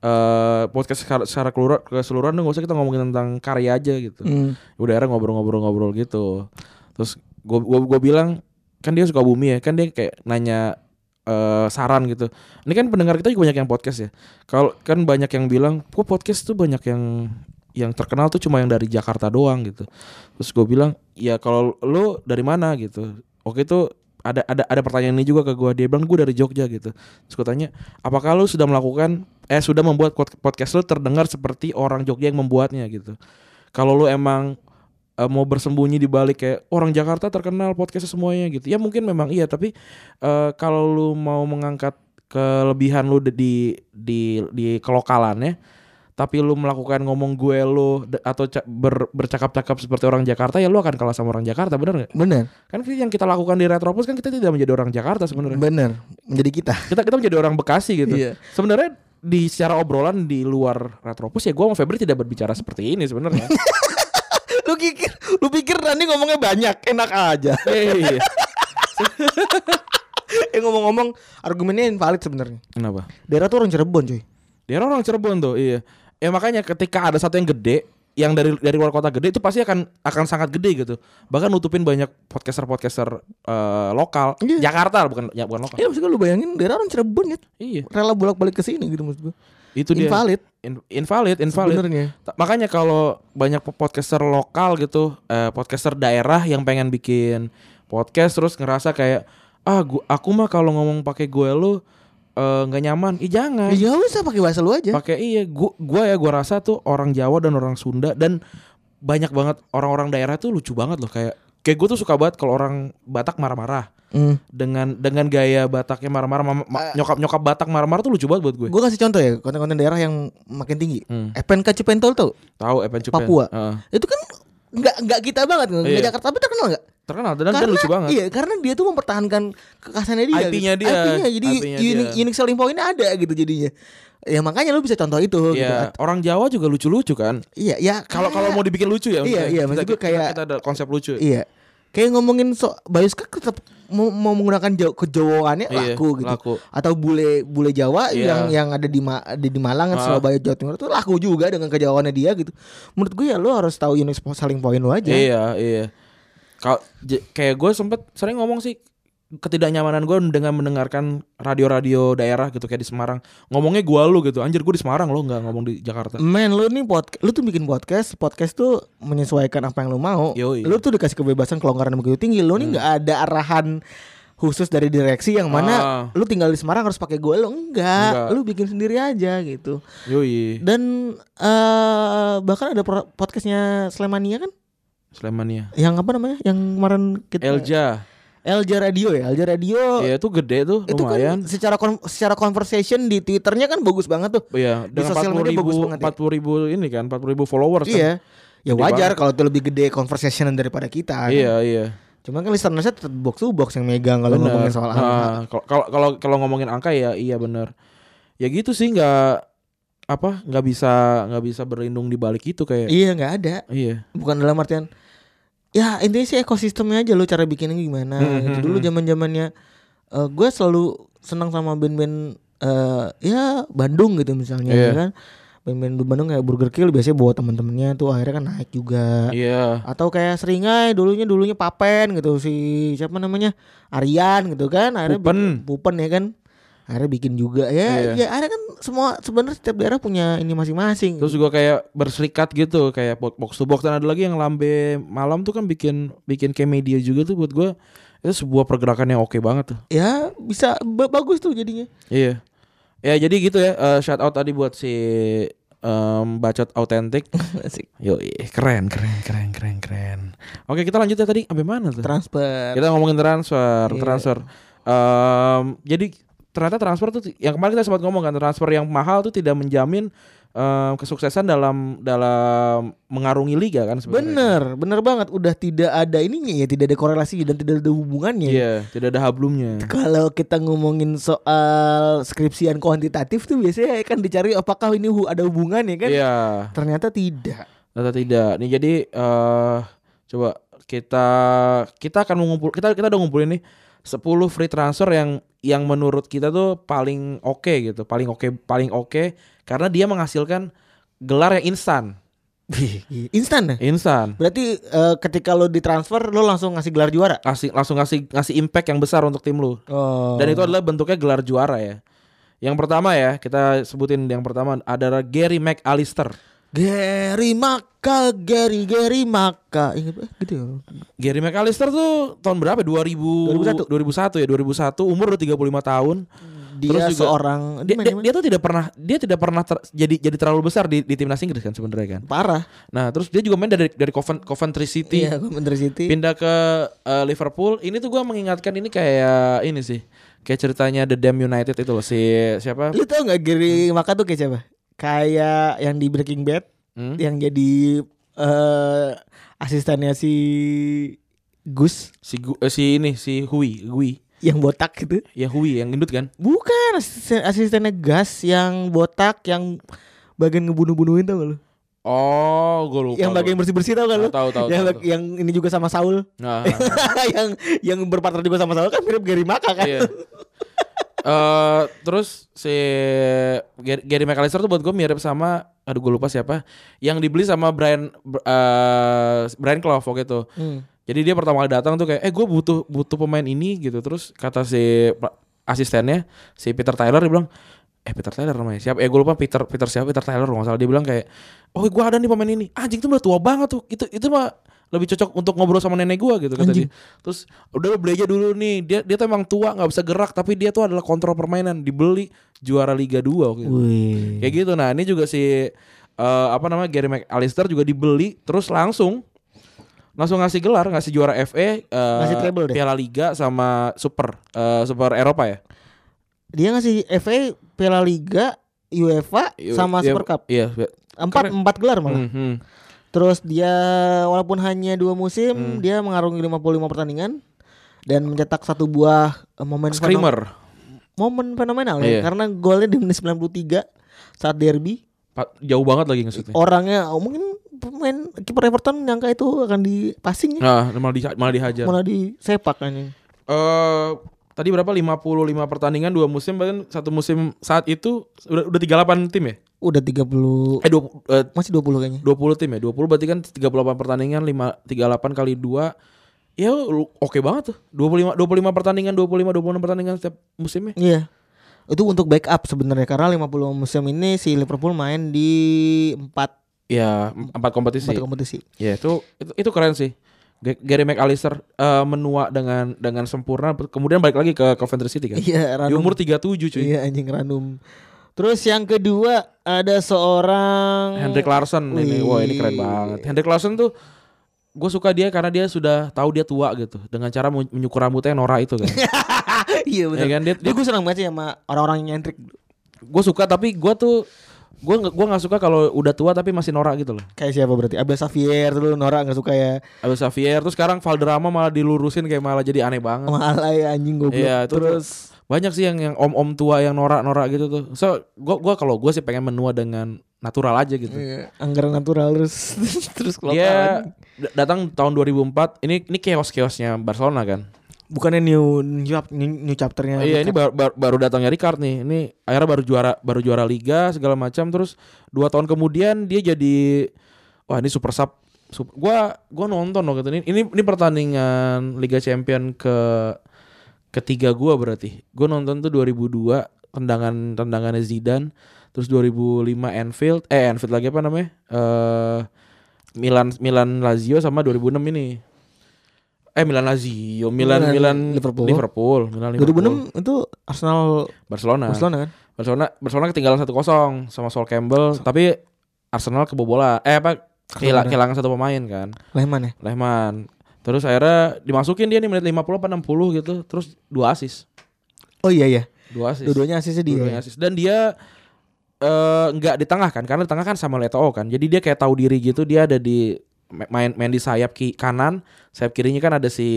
Eh podcast secara, secara kelura- keseluruhan dong gak usah kita ngomongin tentang karya aja gitu Hmm. udah akhirnya ngobrol-ngobrol-ngobrol gitu terus gue gua, gua bilang kan dia suka bumi ya kan dia kayak nanya eh, saran gitu ini kan pendengar kita juga banyak yang podcast ya kalau kan banyak yang bilang kok podcast tuh banyak yang yang terkenal tuh cuma yang dari Jakarta doang gitu terus gue bilang ya kalau lu dari mana gitu oke tuh ada ada ada pertanyaan ini juga ke gue dia bilang gue dari Jogja gitu terus gue tanya apakah lu sudah melakukan eh sudah membuat pod- podcast lu terdengar seperti orang Jogja yang membuatnya gitu kalau lu emang eh, mau bersembunyi di balik kayak orang Jakarta terkenal podcastnya semuanya gitu ya mungkin memang iya tapi eh, kalau lu mau mengangkat kelebihan lu di- di di di kelokalannya tapi lu melakukan ngomong gue lu de- atau ca- ber- bercakap-cakap seperti orang Jakarta ya lu akan kalah sama orang Jakarta bener nggak Bener. kan yang kita lakukan di Retropus kan kita tidak menjadi orang Jakarta sebenarnya Bener. Menjadi kita. kita kita menjadi orang Bekasi gitu Iya. sebenarnya di secara obrolan di luar Retropus ya gue sama Febri tidak berbicara seperti ini sebenarnya lu pikir lu pikir Rani ngomongnya banyak, enak aja. Hey. eh ngomong-ngomong argumennya invalid sebenarnya. kenapa Daerah tuh orang Cirebon, cuy. Dia orang orang Cirebon tuh, iya. Ya makanya ketika ada satu yang gede, yang dari dari luar kota gede itu pasti akan akan sangat gede gitu. Bahkan nutupin banyak podcaster-podcaster eh, lokal. Iya. Jakarta bukan ya, bukan lokal. Iya, maksud gue lu bayangin daerah orang Cirebon ya Iya. rela bolak-balik ke sini gitu maksud gue. Itu dia. Invalid In- invalid, invalid. sebenarnya. Ta- Makanya kalau banyak po- podcaster lokal gitu, eh, podcaster daerah yang pengen bikin podcast terus ngerasa kayak ah gua, aku mah kalau ngomong pakai gue lu eh, nggak nyaman. Ih jangan. Ya usah pakai bahasa lu aja. pakai iya gua, gua ya gua rasa tuh orang Jawa dan orang Sunda dan banyak banget orang-orang daerah tuh lucu banget loh kayak kayak gue tuh suka banget kalau orang Batak marah-marah Hmm. dengan dengan gaya Bataknya marah-marah ma- ma- Eh. nyokap-nyokap Batak marah-marah tuh lucu banget buat gue. Gue kasih contoh ya konten-konten daerah yang makin tinggi. Hmm. FNK Cipentol tuh Tahu Evan Cupen. Papua. Heeh. itu kan nggak nggak kita banget nggak Iya. Jakarta tapi terkenal nggak terkenal dan, dan lucu banget. iya karena dia tuh mempertahankan kekhasannya dia IP-nya gitu. dia. IP-nya jadi IP-nya unique, dia. unique selling point ada gitu jadinya ya makanya lu bisa contoh itu gitu. Iya, orang Jawa juga lucu-lucu kan. iya ya Kalau kayak- kalau mau dibikin lucu ya. Iya, maksudnya. iya, Kita- maksud gue kita- kayak- kita ada konsep lucu. iya kayak ngomongin so Bayuska tetap mau, mau menggunakan jau, kejawaannya Iya, laku gitu laku. atau bule bule Jawa Iya. yang yang ada di Ma- ada di Malang Ah. Surabaya Jawa Timur itu laku juga dengan kejawaannya dia gitu menurut gue ya lu harus tahu unique Ya? selling point lu aja Iya, iya. Kau j- kayak gue sempet sering ngomong sih ketidaknyamanan gue dengan mendengarkan radio-radio daerah gitu kayak di Semarang ngomongnya gua lu gitu anjir gue di Semarang lo nggak ngomong di Jakarta Men lu nih podcast lu tuh bikin podcast, podcast tuh menyesuaikan apa yang lu mau. Yoi. Hmm. Lu tuh dikasih kebebasan kelonggaran yang begitu tinggi. Lu nih nggak ada arahan khusus dari direksi yang mana Ah. lu tinggal di Semarang harus pakai gue lu enggak. Enggak. Lu bikin sendiri aja gitu. yoi Dan eh bahkan ada pro- podcastnya Slemania kan Slemania yang apa namanya? Yang kemarin kita Elja Elja Radio ya. Elja Radio ya itu gede tuh Iya. itu lumayan kan secara kon- secara conversation di Twitternya kan bagus banget tuh. Iya, Di dengan empat sosial puluh media ribu, bagus banget ya. empat ribu ini kan, empat ribu followers. kan. Iya. Ya Gede wajar banget. kalau itu lebih gede conversation daripada kita. kan. iya, iya. Cuman kan listenersnya tetap box to box yang megang kalau Bener. ngomongin soal angka. Nah, Kalau kalau kalau kalau ngomongin angka ya, iya bener. Ya gitu sih, nggak apa, nggak bisa nggak bisa berlindung di balik itu kayak. Iya nggak ada. Iya, Bukan dalam artian ya intinya sih ekosistemnya aja lo cara bikinnya gimana. Hmm, gitu. hmm, Dulu hmm. zaman zamannya gue selalu senang sama band-band eh, ya Bandung gitu misalnya Iya. ya kan. Band-band Bandung kayak Burger Kill biasanya bawa teman-temannya tuh akhirnya kan naik juga. iya. Atau kayak Seringai dulunya dulunya Papen gitu si siapa namanya Aryan gitu kan. Akhirnya Pupen. Pupen ya kan akhirnya bikin juga ya Iya. ya akhirnya kan semua sebenarnya setiap daerah punya ini masing-masing Terus juga kayak berserikat gitu, kayak bo- box to box dan ada lagi yang lambe malam tuh kan bikin bikin kayak media juga tuh buat gua itu sebuah pergerakan yang oke banget tuh. ya bisa ba- bagus tuh jadinya Iya. Ya jadi gitu ya, eh, shout out tadi buat si em, bacot autentik. Yo, keren, keren, keren, keren, keren. Oke, kita lanjut ya tadi sampai mana tuh? transfer Kita ngomongin transfer, Iya. transfer. Em, jadi ternyata transfer tuh ti- yang kemarin kita sempat ngomong kan transfer yang mahal tuh tidak menjamin em, kesuksesan dalam dalam mengarungi liga kan sebenarnya. bener bener banget udah tidak ada ininya ya tidak ada korelasi dan tidak Iya, ada hubungannya tidak ada hablumnya. kalau kita ngomongin soal skripsian kuantitatif tuh biasanya kan dicari apakah ini hu- ada hubungannya kan Iya, ternyata tidak ternyata tidak. Nih jadi eh coba kita kita akan mengumpul kita kita udah ngumpulin nih 10 free transfer yang yang menurut kita tuh paling oke gitu, paling oke paling oke karena dia menghasilkan gelar yang instan. instan ya Instan. berarti eh, ketika lo ditransfer lo langsung ngasih gelar juara ngasih langsung ngasih ngasih impact yang besar untuk tim lu. oh. Dan itu adalah bentuknya gelar juara ya. Yang pertama ya, kita sebutin yang pertama adalah Gary McAllister. Gary Maka, Gary Gary Maka. Ingat eh, gitu ya. Gary McAllister tuh tahun berapa? 2000 2001. 2001 ya, 2001, umur udah 35 tahun. Dia Terus juga- seorang Hmm. Dia, main- dia, main- dia tuh tidak pernah dia tidak pernah ter- jadi jadi terlalu besar di, di timnas Inggris kan sebenarnya kan. parah. Nah, terus dia juga main dari dari Coven- Coventry City. Iya, Manchester City. pindah ke eh, Liverpool ini tuh gua mengingatkan ini kayak ini sih kayak ceritanya The Damn United itu loh si siapa Lu tau gak Gary Maka tuh kayak siapa? Kayak yang di Breaking Bad Hmm? yang jadi eh asistennya si Gus si Gu- eh, si ini si Hui Hui yang botak gitu. ya Hui yang gendut kan Bukan asisten- asistennya Gas yang botak yang bagian ngebunuh-bunuhin tau gak lu? oh gue lupa yang bagian bersih-bersih tau gak lu? Ah, tahu, tahu, yang, tahu, bag- yang ini juga sama Saul. nah, yang yang berpartner juga sama Saul kan mirip Gary Maka kan. iya. Eh, terus si Gary, Gary McAllister tuh buat gue mirip sama aduh gue lupa siapa yang dibeli sama Brian eh Brian Clough waktu itu Hmm. Jadi dia pertama kali datang tuh kayak eh gue butuh butuh pemain ini gitu terus kata si pra- asistennya si Peter Tyler dia bilang eh Peter Tyler namanya siapa eh gue lupa Peter Peter siapa Peter Tyler kalau nggak salah dia bilang kayak oh gue ada nih pemain ini anjing tuh udah tua banget tuh itu itu mah lebih cocok untuk ngobrol sama nenek gue gitu kata Anjing. dia. Terus udah lo beli aja dulu nih dia dia tuh emang tua nggak bisa gerak tapi dia tuh adalah kontrol permainan dibeli juara Liga 2 waktu itu. Wih. Kayak gitu. Nah, ini juga si eh, apa namanya Gary McAllister juga dibeli terus langsung langsung ngasih gelar, ngasih juara FA, eh, Ngasih treble deh. Piala Liga sama Super eh, Super Eropa ya. Dia ngasih FA, Piala Liga, UEFA Iya, sama iya, Super Cup. Iya. Empat keren. empat gelar Hmm, malah. hmm. Terus dia walaupun hanya dua Hmm. musim, dia mengarungi 55 pertandingan dan mencetak satu buah eh, momen fenomenal, Screamer. momen fenomenal Iya. ya karena golnya di menit 93 saat derby. Pa- Jauh banget lagi ngesutnya. Orangnya oh, mungkin pemain kiper Everton nyangka itu akan di passing ya. Nah, malah, di- malah dihajar. Malah di sepak kan. Eh, tadi berapa 55 pertandingan dua musim bahkan satu musim saat itu udah, udah 38 tim ya? Udah 30 Eh 20 eh, masih 20 kayaknya. 20 tim ya. 20 berarti kan 38 pertandingan, 5 38 kali 2 ya lu- oke banget tuh. 25 25 pertandingan, 25 26 pertandingan setiap musimnya. Iya. Itu untuk backup sebenarnya karena 50 musim ini si Liverpool main di 4 Ya, empat kompetisi. kompetisi. Ya, itu itu, itu keren sih. G- Gary McAllister eh, menua dengan dengan sempurna kemudian balik lagi ke Coventry City kan. Di Iya, Ranum. umur 37 cuy. Iya, anjing Ranum. Terus yang kedua ada seorang Hendrik Larsson ini, Wih. wah ini keren banget. Hendrik Larsson tuh gue suka dia karena dia sudah tahu dia tua gitu dengan cara men- menyukur rambutnya yang norak itu kan. iya benar. Iya kan, dia- gue senang banget sih sama orang-orang yang Hendrik gue suka tapi gue tuh gue nggak gue nggak suka kalau udah tua tapi masih norak gitu loh. kayak siapa berarti? Abel Xavier dulu Nora nggak suka ya. Abel Xavier terus sekarang Valderrama malah dilurusin kayak malah jadi aneh banget. Malah ya anjing goblok. Iya, itu Terus banyak sih yang yang om-om tua yang norak-norak gitu tuh. So gue gua kalau gue sih pengen menua dengan natural aja gitu. Iya, anggaran natural terus terus kan. kalau Dia d- datang tahun 2004. Ini ini chaos-chaosnya Barcelona kan. bukannya new new, chap- new, new chapternya Iya ini baru, baru, baru datangnya Ricard nih. Ini akhirnya baru juara baru juara liga segala macam. Terus dua tahun kemudian dia jadi wah ini super sub. Sup- gua gua nonton loh gitu. Ini ini, ini pertandingan Liga Champion ke ketiga gua berarti. Gua nonton tuh 2002 tendangan tendangannya Zidane. Terus 2005 Anfield, eh Anfield lagi apa namanya? Eh Milan Milan Lazio sama 2006 ini. Eh Milan Lazio, Milan Milan- Milan, Liverpool. Liverpool, Milan 2006 itu Arsenal Barcelona. Barcelona. Barcelona kan? Barcelona ketinggalan 1-0 sama Sol Campbell, tapi Arsenal kebobolan. Eh apa kehila- Arsenal. kehilangan satu pemain kan. Lehman ya. Lehman. Terus akhirnya dimasukin dia nih menit 50 apa 60 gitu, terus dua asis. Oh iya iya. Dua asis. Dua-duanya asisnya dia. Dua-duanya asis. Dan dia eh, nggak di tengah kan karena di tengah kan sama Eto'o kan. Jadi dia kayak tahu diri gitu, dia ada di main main di sayap ki kanan, sayap kirinya kan ada si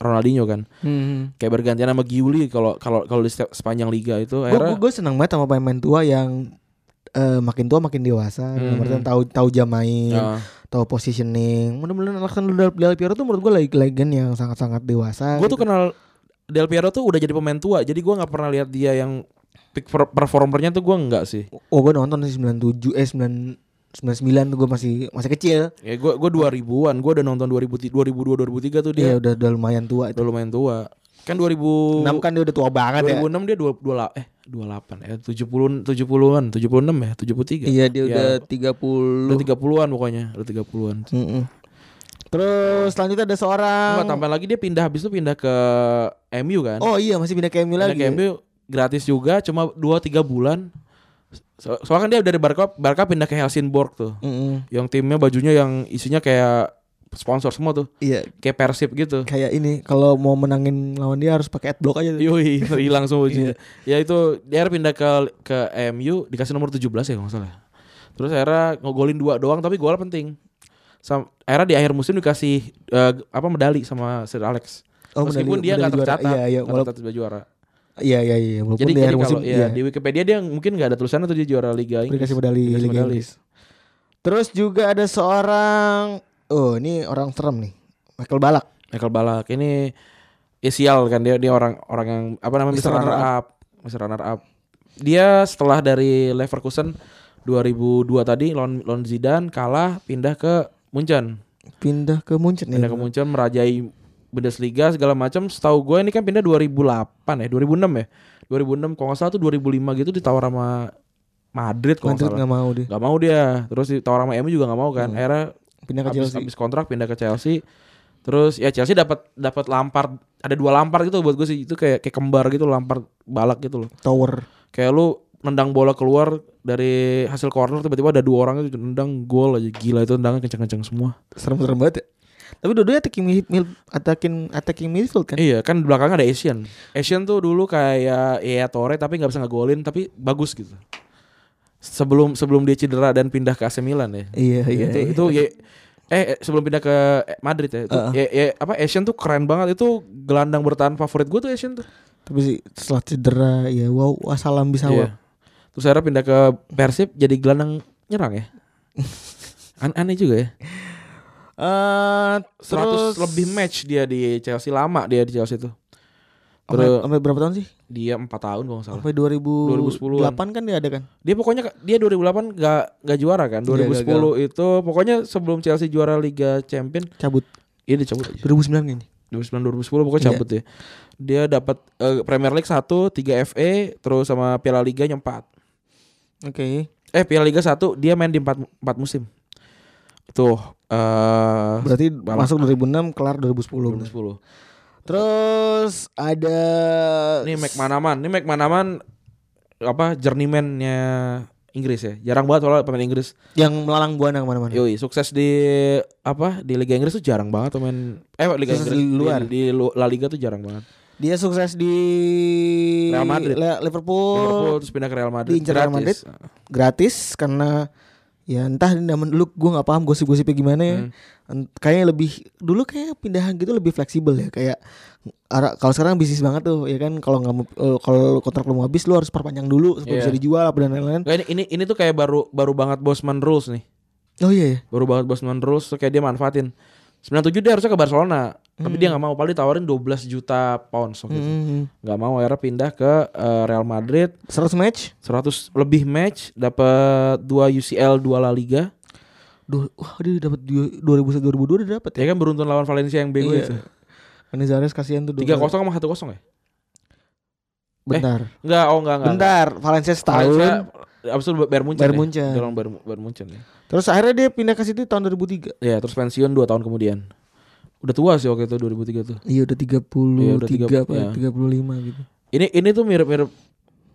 Ronaldinho kan. Hmm. Kayak bergantian sama Giuli kalau kalau kalau di setiap- sepanjang liga itu akhirnya Gue seneng banget sama pemain tua yang eh, makin tua makin dewasa, Mhm. Berarti tahu tahu jam main, Nah. tahu positioning. Mudah-mudahan Alexander Del, Del Piero tuh menurut gue lagi legend yang sangat-sangat dewasa. gue tuh kenal Del Piero tuh udah jadi pemain tua jadi gue nggak pernah lihat dia yang peak per- performernya tuh gue nggak sih oh gue nonton sih 97 eh 9 99 tuh gue masih masih kecil. ya gue gue dua ribuan gue udah nonton 2000 2002 2003 tuh dia Dia udah udah lumayan tua itu. udah lumayan tua kan 2000 Iya. Enam kan dia udah tua banget ya. 2006 dia dua dua la- eh 28 eh 70 70-an 76 ya 73 Iya dia Ya, udah 30. udah 30-an pokoknya udah 30-an Mm-mm. Terus selanjutnya ada seorang Nggak, tambahan lagi dia pindah habis itu pindah ke MU kan Oh iya masih pindah ke MU Pindah lagi. ke MU gratis juga cuma 2 3 bulan So- soalnya kan dia dari Barca Barca pindah ke Helsingborg tuh Mm-mm. yang timnya bajunya yang isinya kayak sponsor semua tuh Iya kayak persib gitu kayak ini kalau mau menangin lawan dia harus pakai adblock aja. tuh. Yoi, hilang semua bajunya. ya Iya. itu dia akhirnya pindah ke ke MU dikasih nomor 17 ya kalau nggak salah terus akhirnya ngegolin dua doang tapi golnya penting Sam, akhirnya di akhir musim dikasih eh, apa medali sama Sir Alex Oh, meskipun medali- dia nggak medali juara. tercatat Iya iya nggak walaupun tercatat sebagai juara iya iya iya walaupun jadi, di jadi akhir musim kalau ya, iya, di Wikipedia dia mungkin nggak ada tulisannya tuh dia juara Liga Inggris dikasih medali Dikasih Liga medali. Inggris. Terus juga ada seorang oh ini orang serem nih. Michael Balak. Michael Balak ini ya sial kan dia dia orang orang yang apa namanya Mr. Mr. Runner Runner Up, Mr. Runner Up. Dia setelah dari Leverkusen 2002 tadi lawan lawan Zidane kalah pindah ke Munchen. Pindah ke Munchen Pindah ya. ke Munchen merajai Bundesliga segala macam. Setahu gue ini kan pindah 2008 ya, 2006 ya. 2006 kalau nggak salah tuh 2005 gitu ditawar sama Madrid kalau nggak Madrid salah. nggak Iya. mau dia. Gak mau dia. Terus ditawar sama MU juga nggak mau kan. Akhirnya Pindah ke habis, Chelsea. habis kontrak pindah ke Chelsea. Terus ya Chelsea dapat dapat Lampard, ada dua Lampard gitu buat gue sih itu kayak kayak kembar gitu Lampard balak gitu loh. Tower. Kayak lu nendang bola keluar dari hasil corner tiba-tiba ada dua orang itu nendang gol aja gila itu tendangan kencang-kencang semua. Serem-serem banget ya. Tapi dua-duanya attacking midfield, attacking, attacking midfield kan. Iya kan di belakang ada Asian. Asian tuh dulu kayak ya Torre tapi nggak bisa ngegolin tapi bagus gitu. Sebelum sebelum dia cedera dan pindah ke AC Milan ya. Iya iya. itu iya. itu ya eh eh, sebelum pindah ke eh, Madrid ya, itu, Heeh. ya, ya, apa Asian tuh keren banget itu gelandang bertahan favorit gue tuh Asian tuh Tapi sih setelah cedera ya wow wassalam bisa Iya. wah. terus akhirnya pindah ke Persib jadi gelandang nyerang ya An- aneh juga ya Eh, 100 terus lebih match dia di Chelsea lama dia di Chelsea tuh sampai, terus sampai berapa tahun sih? dia empat tahun kalau nggak salah Sampai 2000, 2010-an. 2008 kan dia ada kan? dia pokoknya dia 2008 nggak nggak juara kan Iya, 2010 itu pokoknya sebelum Chelsea juara Liga Champion Cabut. dia dicabut aja. 2009 kayaknya. 2009 2010 pokoknya Iya. cabut ya. Dia dapat eh, Premier League 1, 3 FA, terus sama Piala Liganya 4. Oke. Eh Piala Liga 1 dia main di 4 4 musim. Tuh eh Berarti Bang- masuk 2006 kelar 2010. 2010. Terus ada Ini McManaman, ini McManaman apa journeyman-nya Inggris ya. Jarang banget soalnya pemain Inggris. yang melalang buana kemana mana Yoi, sukses di apa di Liga Inggris tuh jarang banget pemain eh Liga Sukses Inggris di luar. di, di Lu- La Liga tuh jarang banget. Dia sukses di Real Madrid. Le- Liverpool, Liverpool terus pindah ke Real Madrid. diincar Oh. Real gratis. gratis karena ya entah ini zaman dulu gue nggak paham gosip-gosipnya gimana ya. Hmm. Ent- Kayaknya lebih dulu kayak pindahan gitu lebih fleksibel ya kayak ara- kalau sekarang bisnis banget tuh ya kan kalau nggak mau- eh, kalau kontrak lu mau habis lu harus perpanjang dulu Iya. supaya bisa dijual apa dan lain-lain. Nggak, ini, ini ini tuh kayak baru baru banget Bosman rules nih. Oh iya ya. Baru banget Bosman rules tuh kayak dia manfaatin. 97 dia harusnya ke Barcelona, tapi Hmm. dia nggak mau paling ditawarin 12 juta pounds waktu itu. Mm-mm. Nggak mau akhirnya pindah ke eh, Real Madrid 100 match. 100 lebih match dapat 2 UCL 2 La Liga. Duh, wah dia dapat 2001 2002 dia dapat ya. Ya kan beruntun lawan Valencia yang bego Iya. itu. Anizares kasihan tuh 3-0 dua- sama 1-0 ya? Bentar. Enggak, oh enggak enggak. Bentar, Valencia, Valencia setahun. Abis itu Bayern Munchen. Bayern ya? Munchen. Dia lawan Bayern, Bayern Munchen ya. Terus akhirnya dia pindah ke City tahun 2003. Ya, terus pensiun 2 tahun kemudian. Udah tua sih waktu itu 2003 tuh. Iya udah 33 Iya, udah tiga- apa iya. 35 gitu. Ini ini tuh mirip-mirip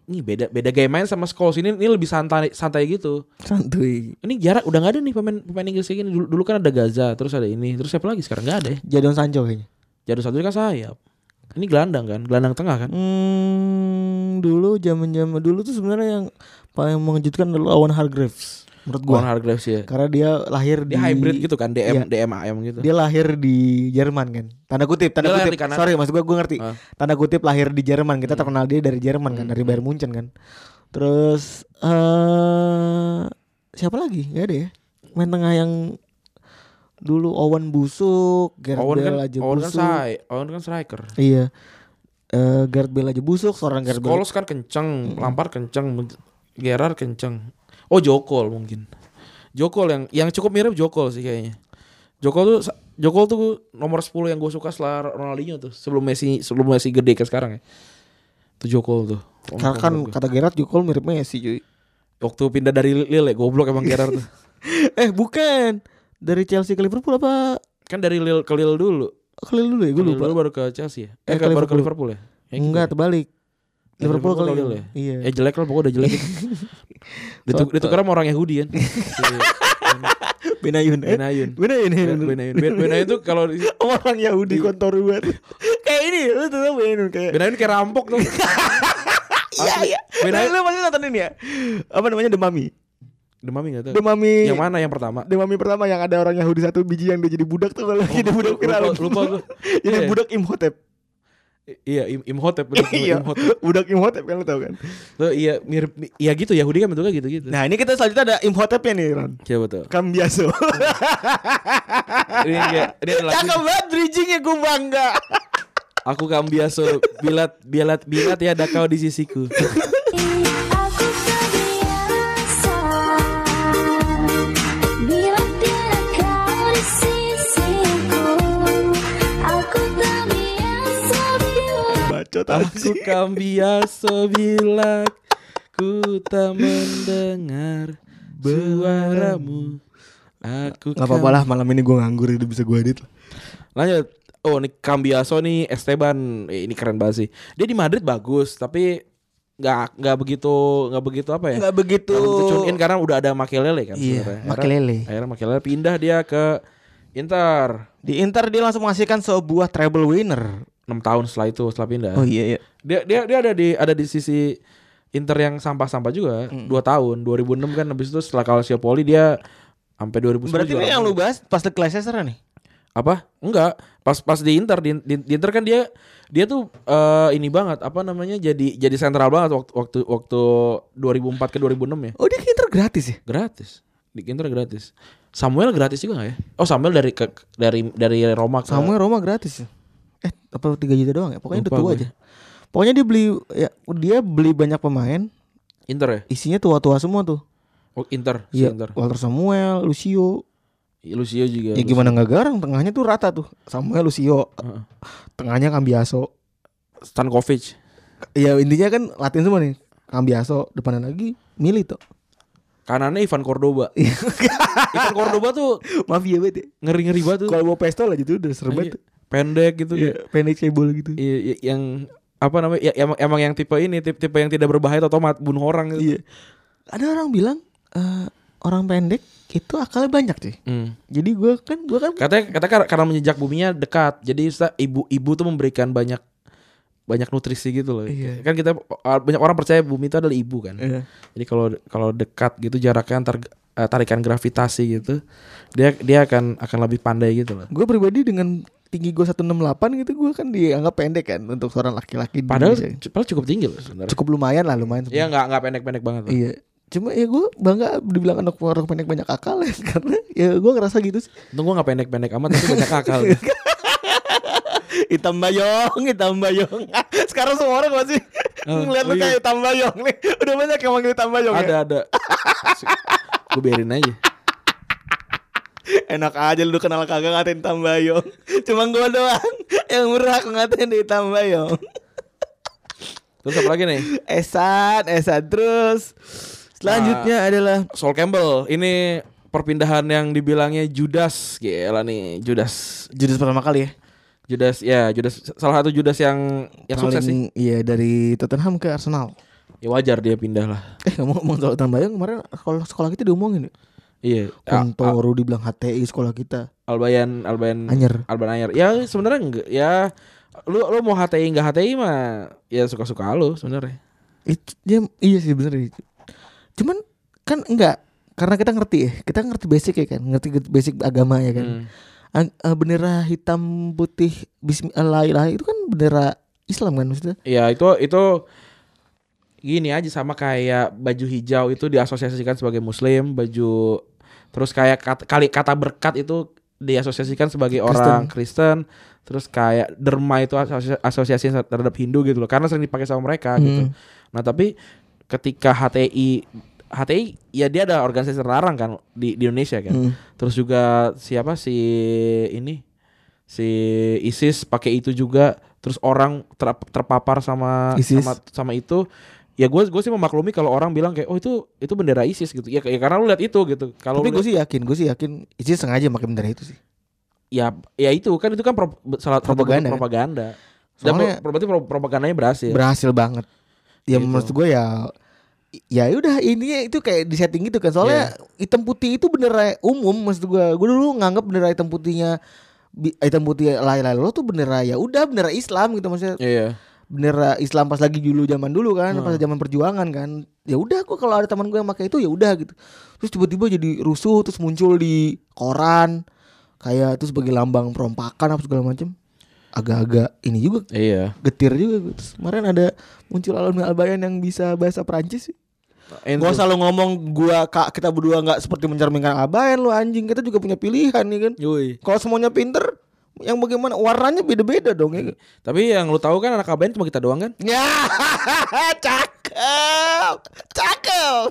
ini beda beda gaya main sama Scholes ini ini lebih santai santai gitu. Santuy. Ini jarak udah nggak ada nih pemain pemain Inggris kayak gini. Dulu, dulu kan ada Gaza, terus ada ini, terus siapa lagi sekarang nggak ada ya. Jadon Sancho kayaknya. Jadon satu kan sayap. Ini gelandang kan, gelandang tengah kan. Hmm, dulu zaman-zaman dulu tuh sebenarnya yang paling mengejutkan adalah Owen Hargreaves menurut gua. Gua Hargreaves ya. Karena dia lahir Dia di hybrid gitu kan, DM Iya. DM AM gitu. Dia lahir di Jerman kan. Tanda kutip, tanda Dia lahir kutip. di Hmm. Kanada. Sorry, maksud gua gua ngerti. Ah. Tanda kutip lahir di Jerman. Kita terkenal dia dari Jerman Hmm, kan, dari Bayern Munchen kan. Terus eh siapa lagi? Gak ada ya. Main tengah yang dulu Owen busuk, Gareth Owen kan, Bale aja Owen kan busuk. say, Owen kan striker. iya. Eh Gareth Bale aja busuk, seorang Gareth Bale. Kolos kan kenceng, Lampard kenceng, Gerard kenceng. Oh Jokol mungkin. Jokol yang yang cukup mirip Jokol sih kayaknya. Jokol tuh Jokol tuh nomor 10 yang gue suka setelah Ronaldinho tuh sebelum Messi sebelum Messi gede kayak sekarang ya. Itu Jokol tuh. Karena kan kata Gerard juga mirip Messi cuy. waktu pindah dari Lille ya, goblok emang Gerard tuh. eh bukan dari Chelsea ke Liverpool apa Kan dari Lille ke Lille dulu. ke Lille dulu ya Gue gue lupa. baru ke Chelsea ya. Eh, Eh, ke- ke baru ke Liverpool. Liverpool ya. Ya, gitu. Enggak terbalik. Ya, Liverpool ke Liverpool Lille. Lille ya? Iya. Ya jelek lah pokoknya udah jelek itu. Dituk, ditukar sama orang Yahudi kan. Benayun. eh? Benayun. Benayun. Benayun. Benayun. Ben- Benayun tuh kalau di- Orang Yahudi kotor banget. kayak ini, lu tuh tau Benayun kayak. Benayun kayak rampok tuh. Iya iya. Benayun- Benayun lu pasti nonton ini ya. Apa namanya The Mummy. Demami enggak tahu. The Mummy. Yang mana yang pertama? The Mummy pertama yang ada orang Yahudi satu biji yang dia jadi budak tuh kalau lagi dia budak lupa- viral. lupa gua. Jadi Iya. budak Imhotep. I- Iya, Im- Imhotep betul Iya. Imhotep. Budak Imhotep kan lu tau kan. Tuh iya mirip iya gitu Yahudi kan bentuknya gitu-gitu. Nah, ini kita selanjutnya ada Imhotepnya nih, Ron. Coba tuh. Kambiaso. Ini dia, ini ada lagu. Cakep banget bridgingnya gue bangga. Aku kambiaso bilat bilat bilat ya ada kau di sisiku. Aku terbiasa bila tidak kau di sisiku. Aku terbiasa bila Bacot Aku kambiaso bilat ku tak mendengar suaramu. Aku Gak apa-apa lah malam ini gue nganggur itu bisa gue edit lah. Lanjut. Oh, nih Cambiaso nih Esteban Eh, ini keren banget sih. Dia di Madrid bagus, tapi nggak nggak begitu nggak begitu apa ya? Nggak begitu- nggak begitu tune in karena udah ada Makelele kan sebenarnya. Iya, Akhirnya- Makelele. Akhirnya Makelele pindah dia ke Inter. Di Inter dia langsung menghasilkan sebuah treble winner. 6 tahun setelah itu setelah pindah. iya iya. Dia dia dia ada di ada di sisi Inter yang sampah-sampah juga dua tahun 2006 kan habis itu setelah Calciopoli dia sampai 2010 Berarti juara ini yang mulu. lu bahas pas The Leicester nih. apa enggak pas pas di Inter di, di, di Inter kan dia dia tuh eh, ini banget apa namanya jadi jadi sentral banget waktu waktu waktu 2004 ke 2006 ya Oh dia ke Inter gratis ya? gratis di Inter gratis Samuel gratis juga gak ya oh Samuel dari ke, dari dari Roma ke, Sama Roma gratis ya? Eh apa 3 juta doang ya? Pokoknya udah Lupa tua gue. aja. Pokoknya dia beli ya dia beli banyak pemain, Inter ya isinya tua-tua semua tuh. oh Inter si Iya, Inter Walter Samuel, Lucio, Lucio juga. Ya gimana nggak garang? Tengahnya tuh rata tuh. Samuel Lucio, Heeh. tengahnya Kambiaso. Stankovic. Ya intinya kan Latin semua nih. Kambiaso depanan lagi Milito. Kanannya Ivan Cordoba. Iya. Ivan Cordoba tuh Mafia banget. ya. ngeri-ngeri banget tuh. Kalau mau pestol aja tuh udah serem banget. Iya, Pendek gitu Iya, kayak- Pendek cebol gitu. Iya, iya, yang apa namanya? Ya, emang, emang yang tipe ini, tipe, tipe yang tidak berbahaya atau mat bunuh orang gitu. Iya. Ada orang bilang eh, orang pendek itu akalnya banyak sih. Hmm. Jadi gua kan gua kan Katanya katanya kar- karena menjejak buminya dekat. Jadi sa- ibu-ibu tuh memberikan banyak banyak nutrisi gitu loh. Iya. Kan kita banyak orang percaya bumi itu adalah ibu kan. Iya. Jadi kalau kalau dekat gitu jaraknya antar eh, tarikan gravitasi gitu, dia dia akan akan lebih pandai gitu loh. Gue pribadi dengan tinggi gue 168 gitu gue kan dianggap pendek kan untuk seorang laki-laki di Padahal, Indonesia. padahal cukup tinggi loh sebenarnya. Iya. cukup lumayan lah lumayan Iya nggak nggak pendek-pendek banget. Loh. iya cuma ya gue bangga dibilang anak orang pendek banyak akal ya karena ya gue ngerasa gitu sih Untung gue nggak pendek-pendek amat tapi banyak akal. hitam bayong hitam bayong sekarang semua orang masih Oh, ngeliat lu iya. kayak hitam bayong nih udah banyak yang manggil hitam bayong ya? ada ada. gue biarin aja. enak aja lu kenal kagak ngatain hitam bayong cuma gue doang yang berhak ngatain di hitam bayong Terus apa lagi nih? esan esan terus Ah. selanjutnya adalah Sol Campbell ini perpindahan yang dibilangnya Judas gila nih Judas judul pertama kali ya Judas ya Judas salah satu Judas yang yang Paling- sukses sih iya dari Tottenham ke Arsenal ya wajar dia pindah lah Eh ngomong-ngomong soal tambahan kemarin sekolah sekolah kita diomongin ya. iya A- A- Kontoro dibilang HTI sekolah kita. Albayan Albayan Anyer. Alban Anyer ya sebenarnya enggak ya lu lu mau HTI enggak HTI mah ya suka-suka lu sebenarnya Itu dia iya sih bener itu. Cuman kan enggak karena kita ngerti ya, kita ngerti basic ya kan, ngerti basic agama ya kan. Hmm. Ag- eh, bendera hitam putih bismillah itu kan bendera Islam kan maksudnya. ya itu itu gini aja sama kayak baju hijau itu diasosiasikan sebagai muslim baju terus kayak kat- kali kata berkat itu diasosiasikan sebagai orang Kristen terus kayak derma itu asosia- asosiasi terhadap Hindu gitu loh karena sering dipakai sama mereka gitu Hmm. nah tapi ketika HTI HTI ya dia ada organisasi terlarang kan di, di Indonesia kan Hmm. Terus juga siapa si ini si ISIS pakai itu juga. Terus orang ter- terpapar sama ISIS. sama sama itu. Ya gue gue sih memaklumi kalau orang bilang kayak oh itu itu bendera ISIS gitu. Ya, ya karena lu lihat itu gitu. Kalau Tapi lu gue sih yakin, gue sih yakin ISIS sengaja pakai bendera itu sih. ya ya itu kan itu kan pro- salah satu Propaganda, kan? propaganda. Dan Soalnya pro- berarti pro- propagandanya berhasil. berhasil banget. Iya. Ya Gitu. menurut gue ya ya udah ini itu kayak di setting gitu kan soalnya Iya. hitam putih itu bendera umum maksud gue gue dulu nganggap bendera hitam putihnya bi- hitam putih lain-lain lo tuh bendera ya udah bendera Islam gitu maksudnya Iya. bendera Islam pas lagi dulu zaman dulu kan Hmm. pas zaman perjuangan kan ya udah kok kalau ada teman gue yang pakai itu ya udah gitu terus tiba-tiba jadi rusuh terus muncul di koran kayak itu sebagai lambang perompakan apa segala macem agak-agak ini juga Iya. getir juga gue. Terus kemarin ada muncul alumni Albayan yang bisa bahasa Prancis sih. Enzo. Gua selalu ngomong gua kak kita berdua nggak seperti mencerminkan Albayan lu anjing. Kita juga punya pilihan nih kan. Yoi. Kalau semuanya pinter yang bagaimana warnanya beda-beda dong ya. Tapi yang lu tahu kan anak ABN cuma kita doang kan? Ya, cakep, cakep,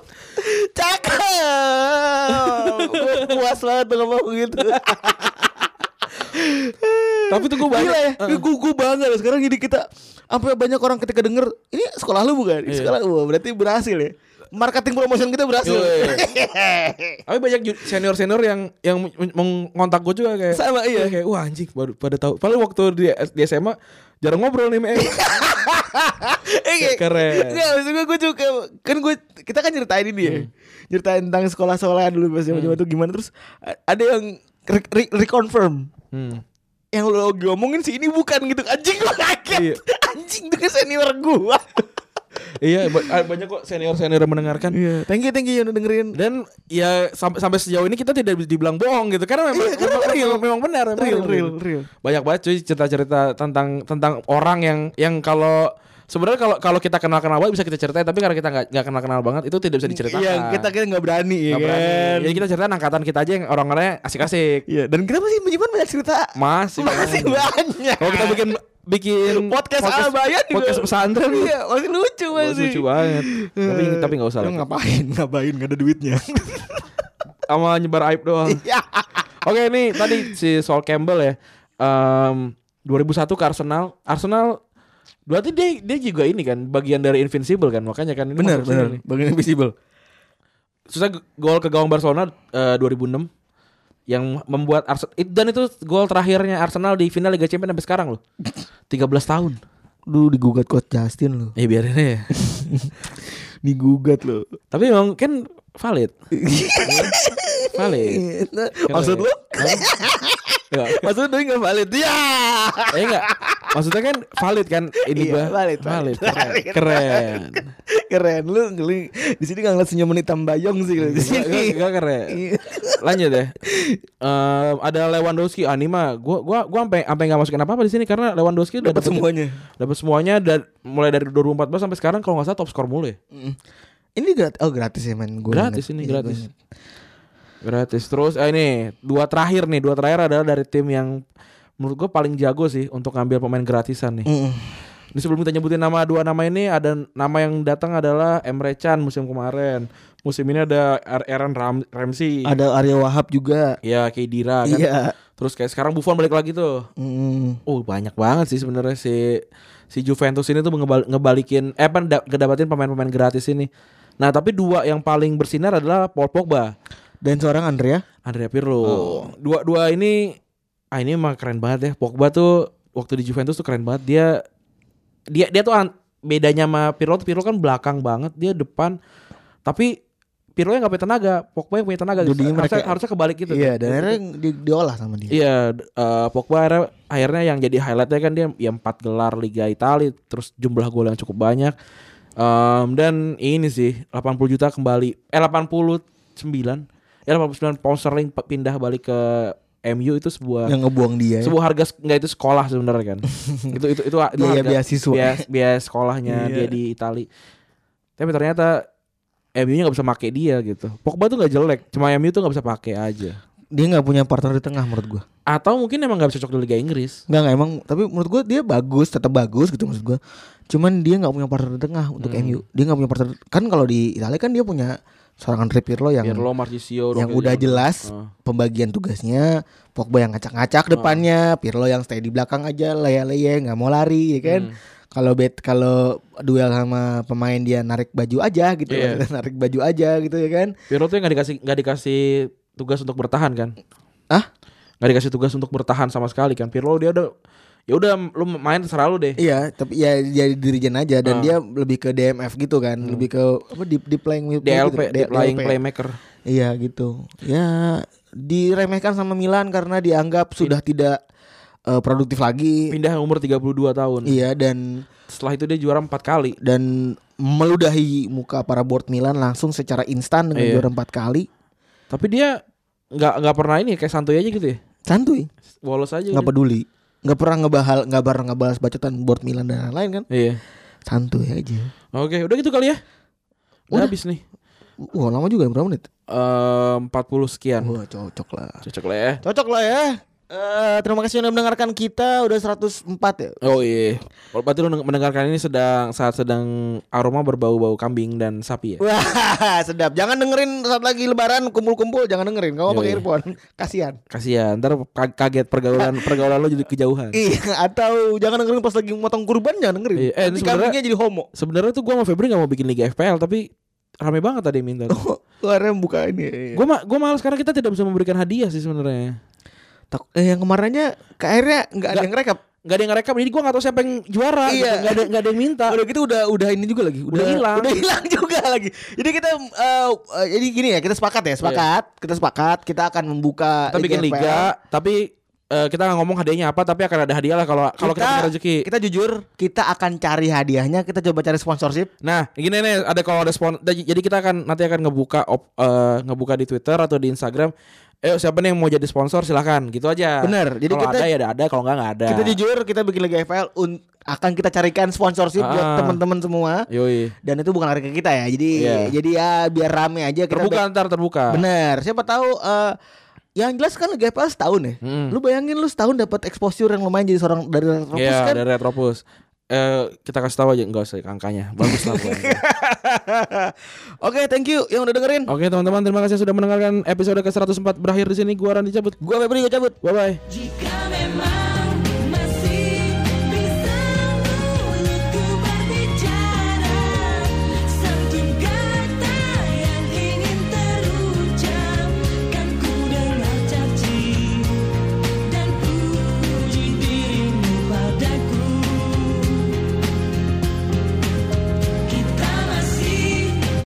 cakep. Gue puas banget tuh ngomong gitu. Tapi tuh gue banyak- Eh, Gila ya, Heeh. gue gue bangga loh. Sekarang jadi kita sampai banyak orang ketika denger ini sekolah lu bukan? Ini Iya. sekolah gua berarti berhasil ya. Marketing promotion kita berhasil. Iya, Tapi banyak senior senior yang yang men- mengontak gue juga kayak Sama, iya. kayak wah anjing baru pada tahu. Padahal waktu di, di SMA jarang ngobrol nih Mek. Eh, Keren. Enggak, maksud gue, gue juga kan gue kita kan ceritain ini ya. Ceritain tentang sekolah-sekolah dulu pas zaman-zaman itu gimana terus a- ada yang re- re- reconfirm. Hmm. yang lo lagi ngomongin sih ini bukan gitu anjing gue kaget Iya. anjing itu ke senior gue Iya ba- ah, banyak kok senior senior yang mendengarkan. thank you thank you yang udah dengerin Dan ya sam- sampai sejauh ini kita tidak bisa dibilang bohong gitu karena memang Iya, karena memang, real. memang- memang benar memang real real gitu. real Banyak banget cuy cerita-cerita tentang tentang orang yang yang kalau sebenarnya kalau kalau kita kenal-kenal banget bisa kita ceritain tapi karena kita nggak nggak kenal-kenal banget itu tidak bisa diceritakan. Iya, kita kita nggak berani ya Nggak berani. Iya, kan Jadi kita ceritain angkatan kita aja yang orang-orangnya asik-asik. Iya, dan kita masih menyimpan banyak cerita Masih. masih banyak. banyak Kalau kita bikin bikin podcast, Albayan juga podcast pesantren iya masih lucu Wah, masih lucu banget. tapi Eh, tapi enggak usah lu lah. ngapain ngapain gak ada duitnya Sama nyebar aib doang. Iya. Oke ini tadi si Sol Campbell ya. Em, 2001 ke Arsenal. Arsenal berarti dia dia juga ini kan bagian dari Invincible kan makanya kan ini bener masuk sini bener nih. bagian invisible susah g- gol ke gawang Barcelona eh, 2006 yang membuat Arsenal dan itu gol terakhirnya Arsenal di final Liga Champions sampai sekarang loh. 13 tahun. lu digugat coach Justin lu Ya biarin ya. digugat lu Tapi memang kan valid. valid. maksud lu Ya, maksud lu nggak valid ya eh enggak. Maksudnya kan valid kan ini Iya, gua. valid, valid, Keren. valid. keren. keren lu ngeli di sini nggak ngeliat senyum hitam bayong sih lu di Gak, sini Iya. keren. Lanjut deh. Em, ada Lewandowski anima. Gua gua gua sampai sampai enggak masukin apa-apa di sini karena Lewandowski udah dapat dapetin- semuanya Dapat semuanya dan mulai dari 2014 sampai sekarang kalau nggak salah top skor mulu ya. ini gratis oh gratis ya man Gua Gratis ingat. ini Iya, gua gratis. ingat. Gratis terus eh, ini dua terakhir nih, dua terakhir adalah dari tim yang menurut gue paling jago sih untuk ngambil pemain gratisan nih. Mm. Ini sebelum kita nyebutin nama dua nama ini ada nama yang datang adalah Emre Can musim kemarin. Musim ini ada Er- Aaron Ram- Ramsey. ada Arya Wahab juga Ya Kedira kan. iya Terus kayak sekarang Buffon balik lagi tuh. Mm. Oh banyak banget sih sebenarnya si si Juventus ini tuh ngebal- ngebalikin eh apa da- ngedapetin pemain-pemain gratis ini. Nah tapi dua yang paling bersinar adalah Paul Pogba, dan seorang Andrea Andrea Pirlo. Oh. Dua dua ini ah ini emang keren banget ya. Pogba tuh waktu di Juventus tuh keren banget. Dia dia dia tuh an- bedanya sama Pirlo tuh Pirlo kan belakang banget, dia depan. Tapi Pirlo yang nggak punya tenaga, Pogba yang punya tenaga. Jadi harusnya, mereka- harusnya kebalik gitu. iya kan. dan akhirnya di- diolah sama dia Iya, d- eh, Pogba akhirnya, akhirnya yang jadi highlightnya kan dia ya empat gelar Liga Italia, terus jumlah gol yang cukup banyak. Em, dan ini sih 80 juta kembali, eh 89, ya 89 pound sterling pe- pindah balik ke MU itu sebuah yang ngebuang dia ya. sebuah harga nggak itu sekolah sebenarnya kan. itu itu itu, itu biaya harga- beasiswa biaya, biaya sekolahnya Iya. dia di Itali. Tapi ternyata MU-nya nggak bisa pakai dia gitu. Pogba tuh nggak jelek, cuma MU tuh nggak bisa pakai aja. dia nggak punya partner di tengah menurut gua Atau mungkin emang nggak cocok di Liga Inggris. nggak nggak emang tapi menurut gua dia bagus tetap bagus gitu maksud gua cuman dia nggak punya partner di tengah untuk MU dia nggak punya partner kan kalau di Italia kan dia punya seorang Andre Pirlo Hmm. yang Pirlo, Marchisio, yang Rogelio. udah jelas Ah. pembagian tugasnya Pogba yang ngacak-ngacak depannya Pirlo yang stay di belakang aja leye-leye nggak mau lari ya kan kalau bet kalau duel sama pemain dia narik baju aja gitu Iya. maksudnya narik baju aja gitu ya kan Pirlo tuh nggak dikasih nggak dikasih tugas untuk bertahan kan? Ah? Nggak dikasih tugas untuk bertahan sama sekali kan? Pirlo dia udah ya udah lu main terserah lu deh. iya tapi ya jadi dirijen aja dan dia lebih ke DMF gitu kan lebih ke apa deep, deep playing midfield DLP, gitu. D- playing DLP. playmaker. Iya gitu. Ya diremehkan sama Milan karena dianggap sudah tidak eh, produktif lagi. Pindah umur 32 tahun. Iya dan Setelah itu dia juara 4 kali. dan meludahi muka para board Milan langsung secara instan dengan Iya. juara empat kali. Tapi dia nggak nggak pernah ini kayak santuy aja gitu ya. Santuy, Bolos aja. gitu. nggak udah. peduli. Nggak pernah ngebahal, nggak pernah ngebahas bacotan board Milan dan lain-lain kan? Iya. Santuy aja. Oke, udah gitu kali ya. Udah, Udah. habis nih. Wah lama juga ya, berapa menit? Eh, 40 sekian. Wah cocok lah. Cocok lah ya. Cocok lah ya. Eh, terima kasih sudah mendengarkan kita udah 104 ya. Oh iya. Kalau Berarti lu mendengarkan ini sedang saat sedang aroma berbau-bau kambing dan sapi ya. Wah, sedap. Jangan dengerin saat lagi lebaran kumpul-kumpul, jangan dengerin. Kamu pakai Yoi. earphone, kasihan. Kasihan, ntar ka- kaget pergaulan pergaulan lo jadi kejauhan. Iya, atau jangan dengerin pas lagi motong kurban, jangan dengerin. Iya, eh, ini Nanti sebenarnya- kambingnya jadi homo. Sebenarnya tuh gua sama Febri gak mau bikin liga FPL tapi rame banget tadi yang minta. Oh, Akhirnya buka ini. iya, Gua ma gua malas karena kita tidak bisa memberikan hadiah sih sebenarnya. Tak- eh, yang kemarinnya akhirnya nggak ada Nggak- yang rekap. Gak ada yang ngerekam jadi gua gak tahu siapa yang juara. Iya. Gak ada nggak ada yang minta. Udah gitu udah udah ini juga lagi, udah Udah hilang. udah hilang juga lagi. Jadi kita eh, eh, jadi gini ya, kita sepakat ya, sepakat. Kita sepakat kita akan membuka Kita bikin liga FPL. tapi eh, kita nggak ngomong hadiahnya apa tapi akan ada hadiah lah kalau kalau kita, punya rezeki. kita jujur, kita akan cari hadiahnya, kita coba cari sponsorship. Nah, gini nih ada kalau ada spon da- jadi kita akan nanti akan ngebuka op, eh, ngebuka di Twitter atau di Instagram. Eh siapa nih yang mau jadi sponsor silahkan gitu aja. Bener, jadi Jadi kalau kita- ada ya ada, ada kalau enggak enggak ada. Kita jujur kita bikin Liga FPL un- akan kita carikan sponsorship buat Ah. teman-teman semua Yoi. dan itu bukan harga kita ya. Jadi Iya. jadi ya biar rame aja kita Terbuka ntar terbuka. Bener. Siapa tahu eh, yang jelas kan Liga FPL setahun ya. Hmm. Lu bayangin lu setahun dapat exposure yang lumayan jadi seorang dari Retropus Iya, kan. dari Retropus. Eh eh, kita kasih tahu aja enggak usah angkanya. Bagus lah pokoknya. Oke, thank you yang udah dengerin. Oke teman-teman, terima kasih sudah mendengarkan episode ke-104 berakhir di sini. Gua Randy cabut. Gua Febri, gua cabut. Bye bye. Jika memang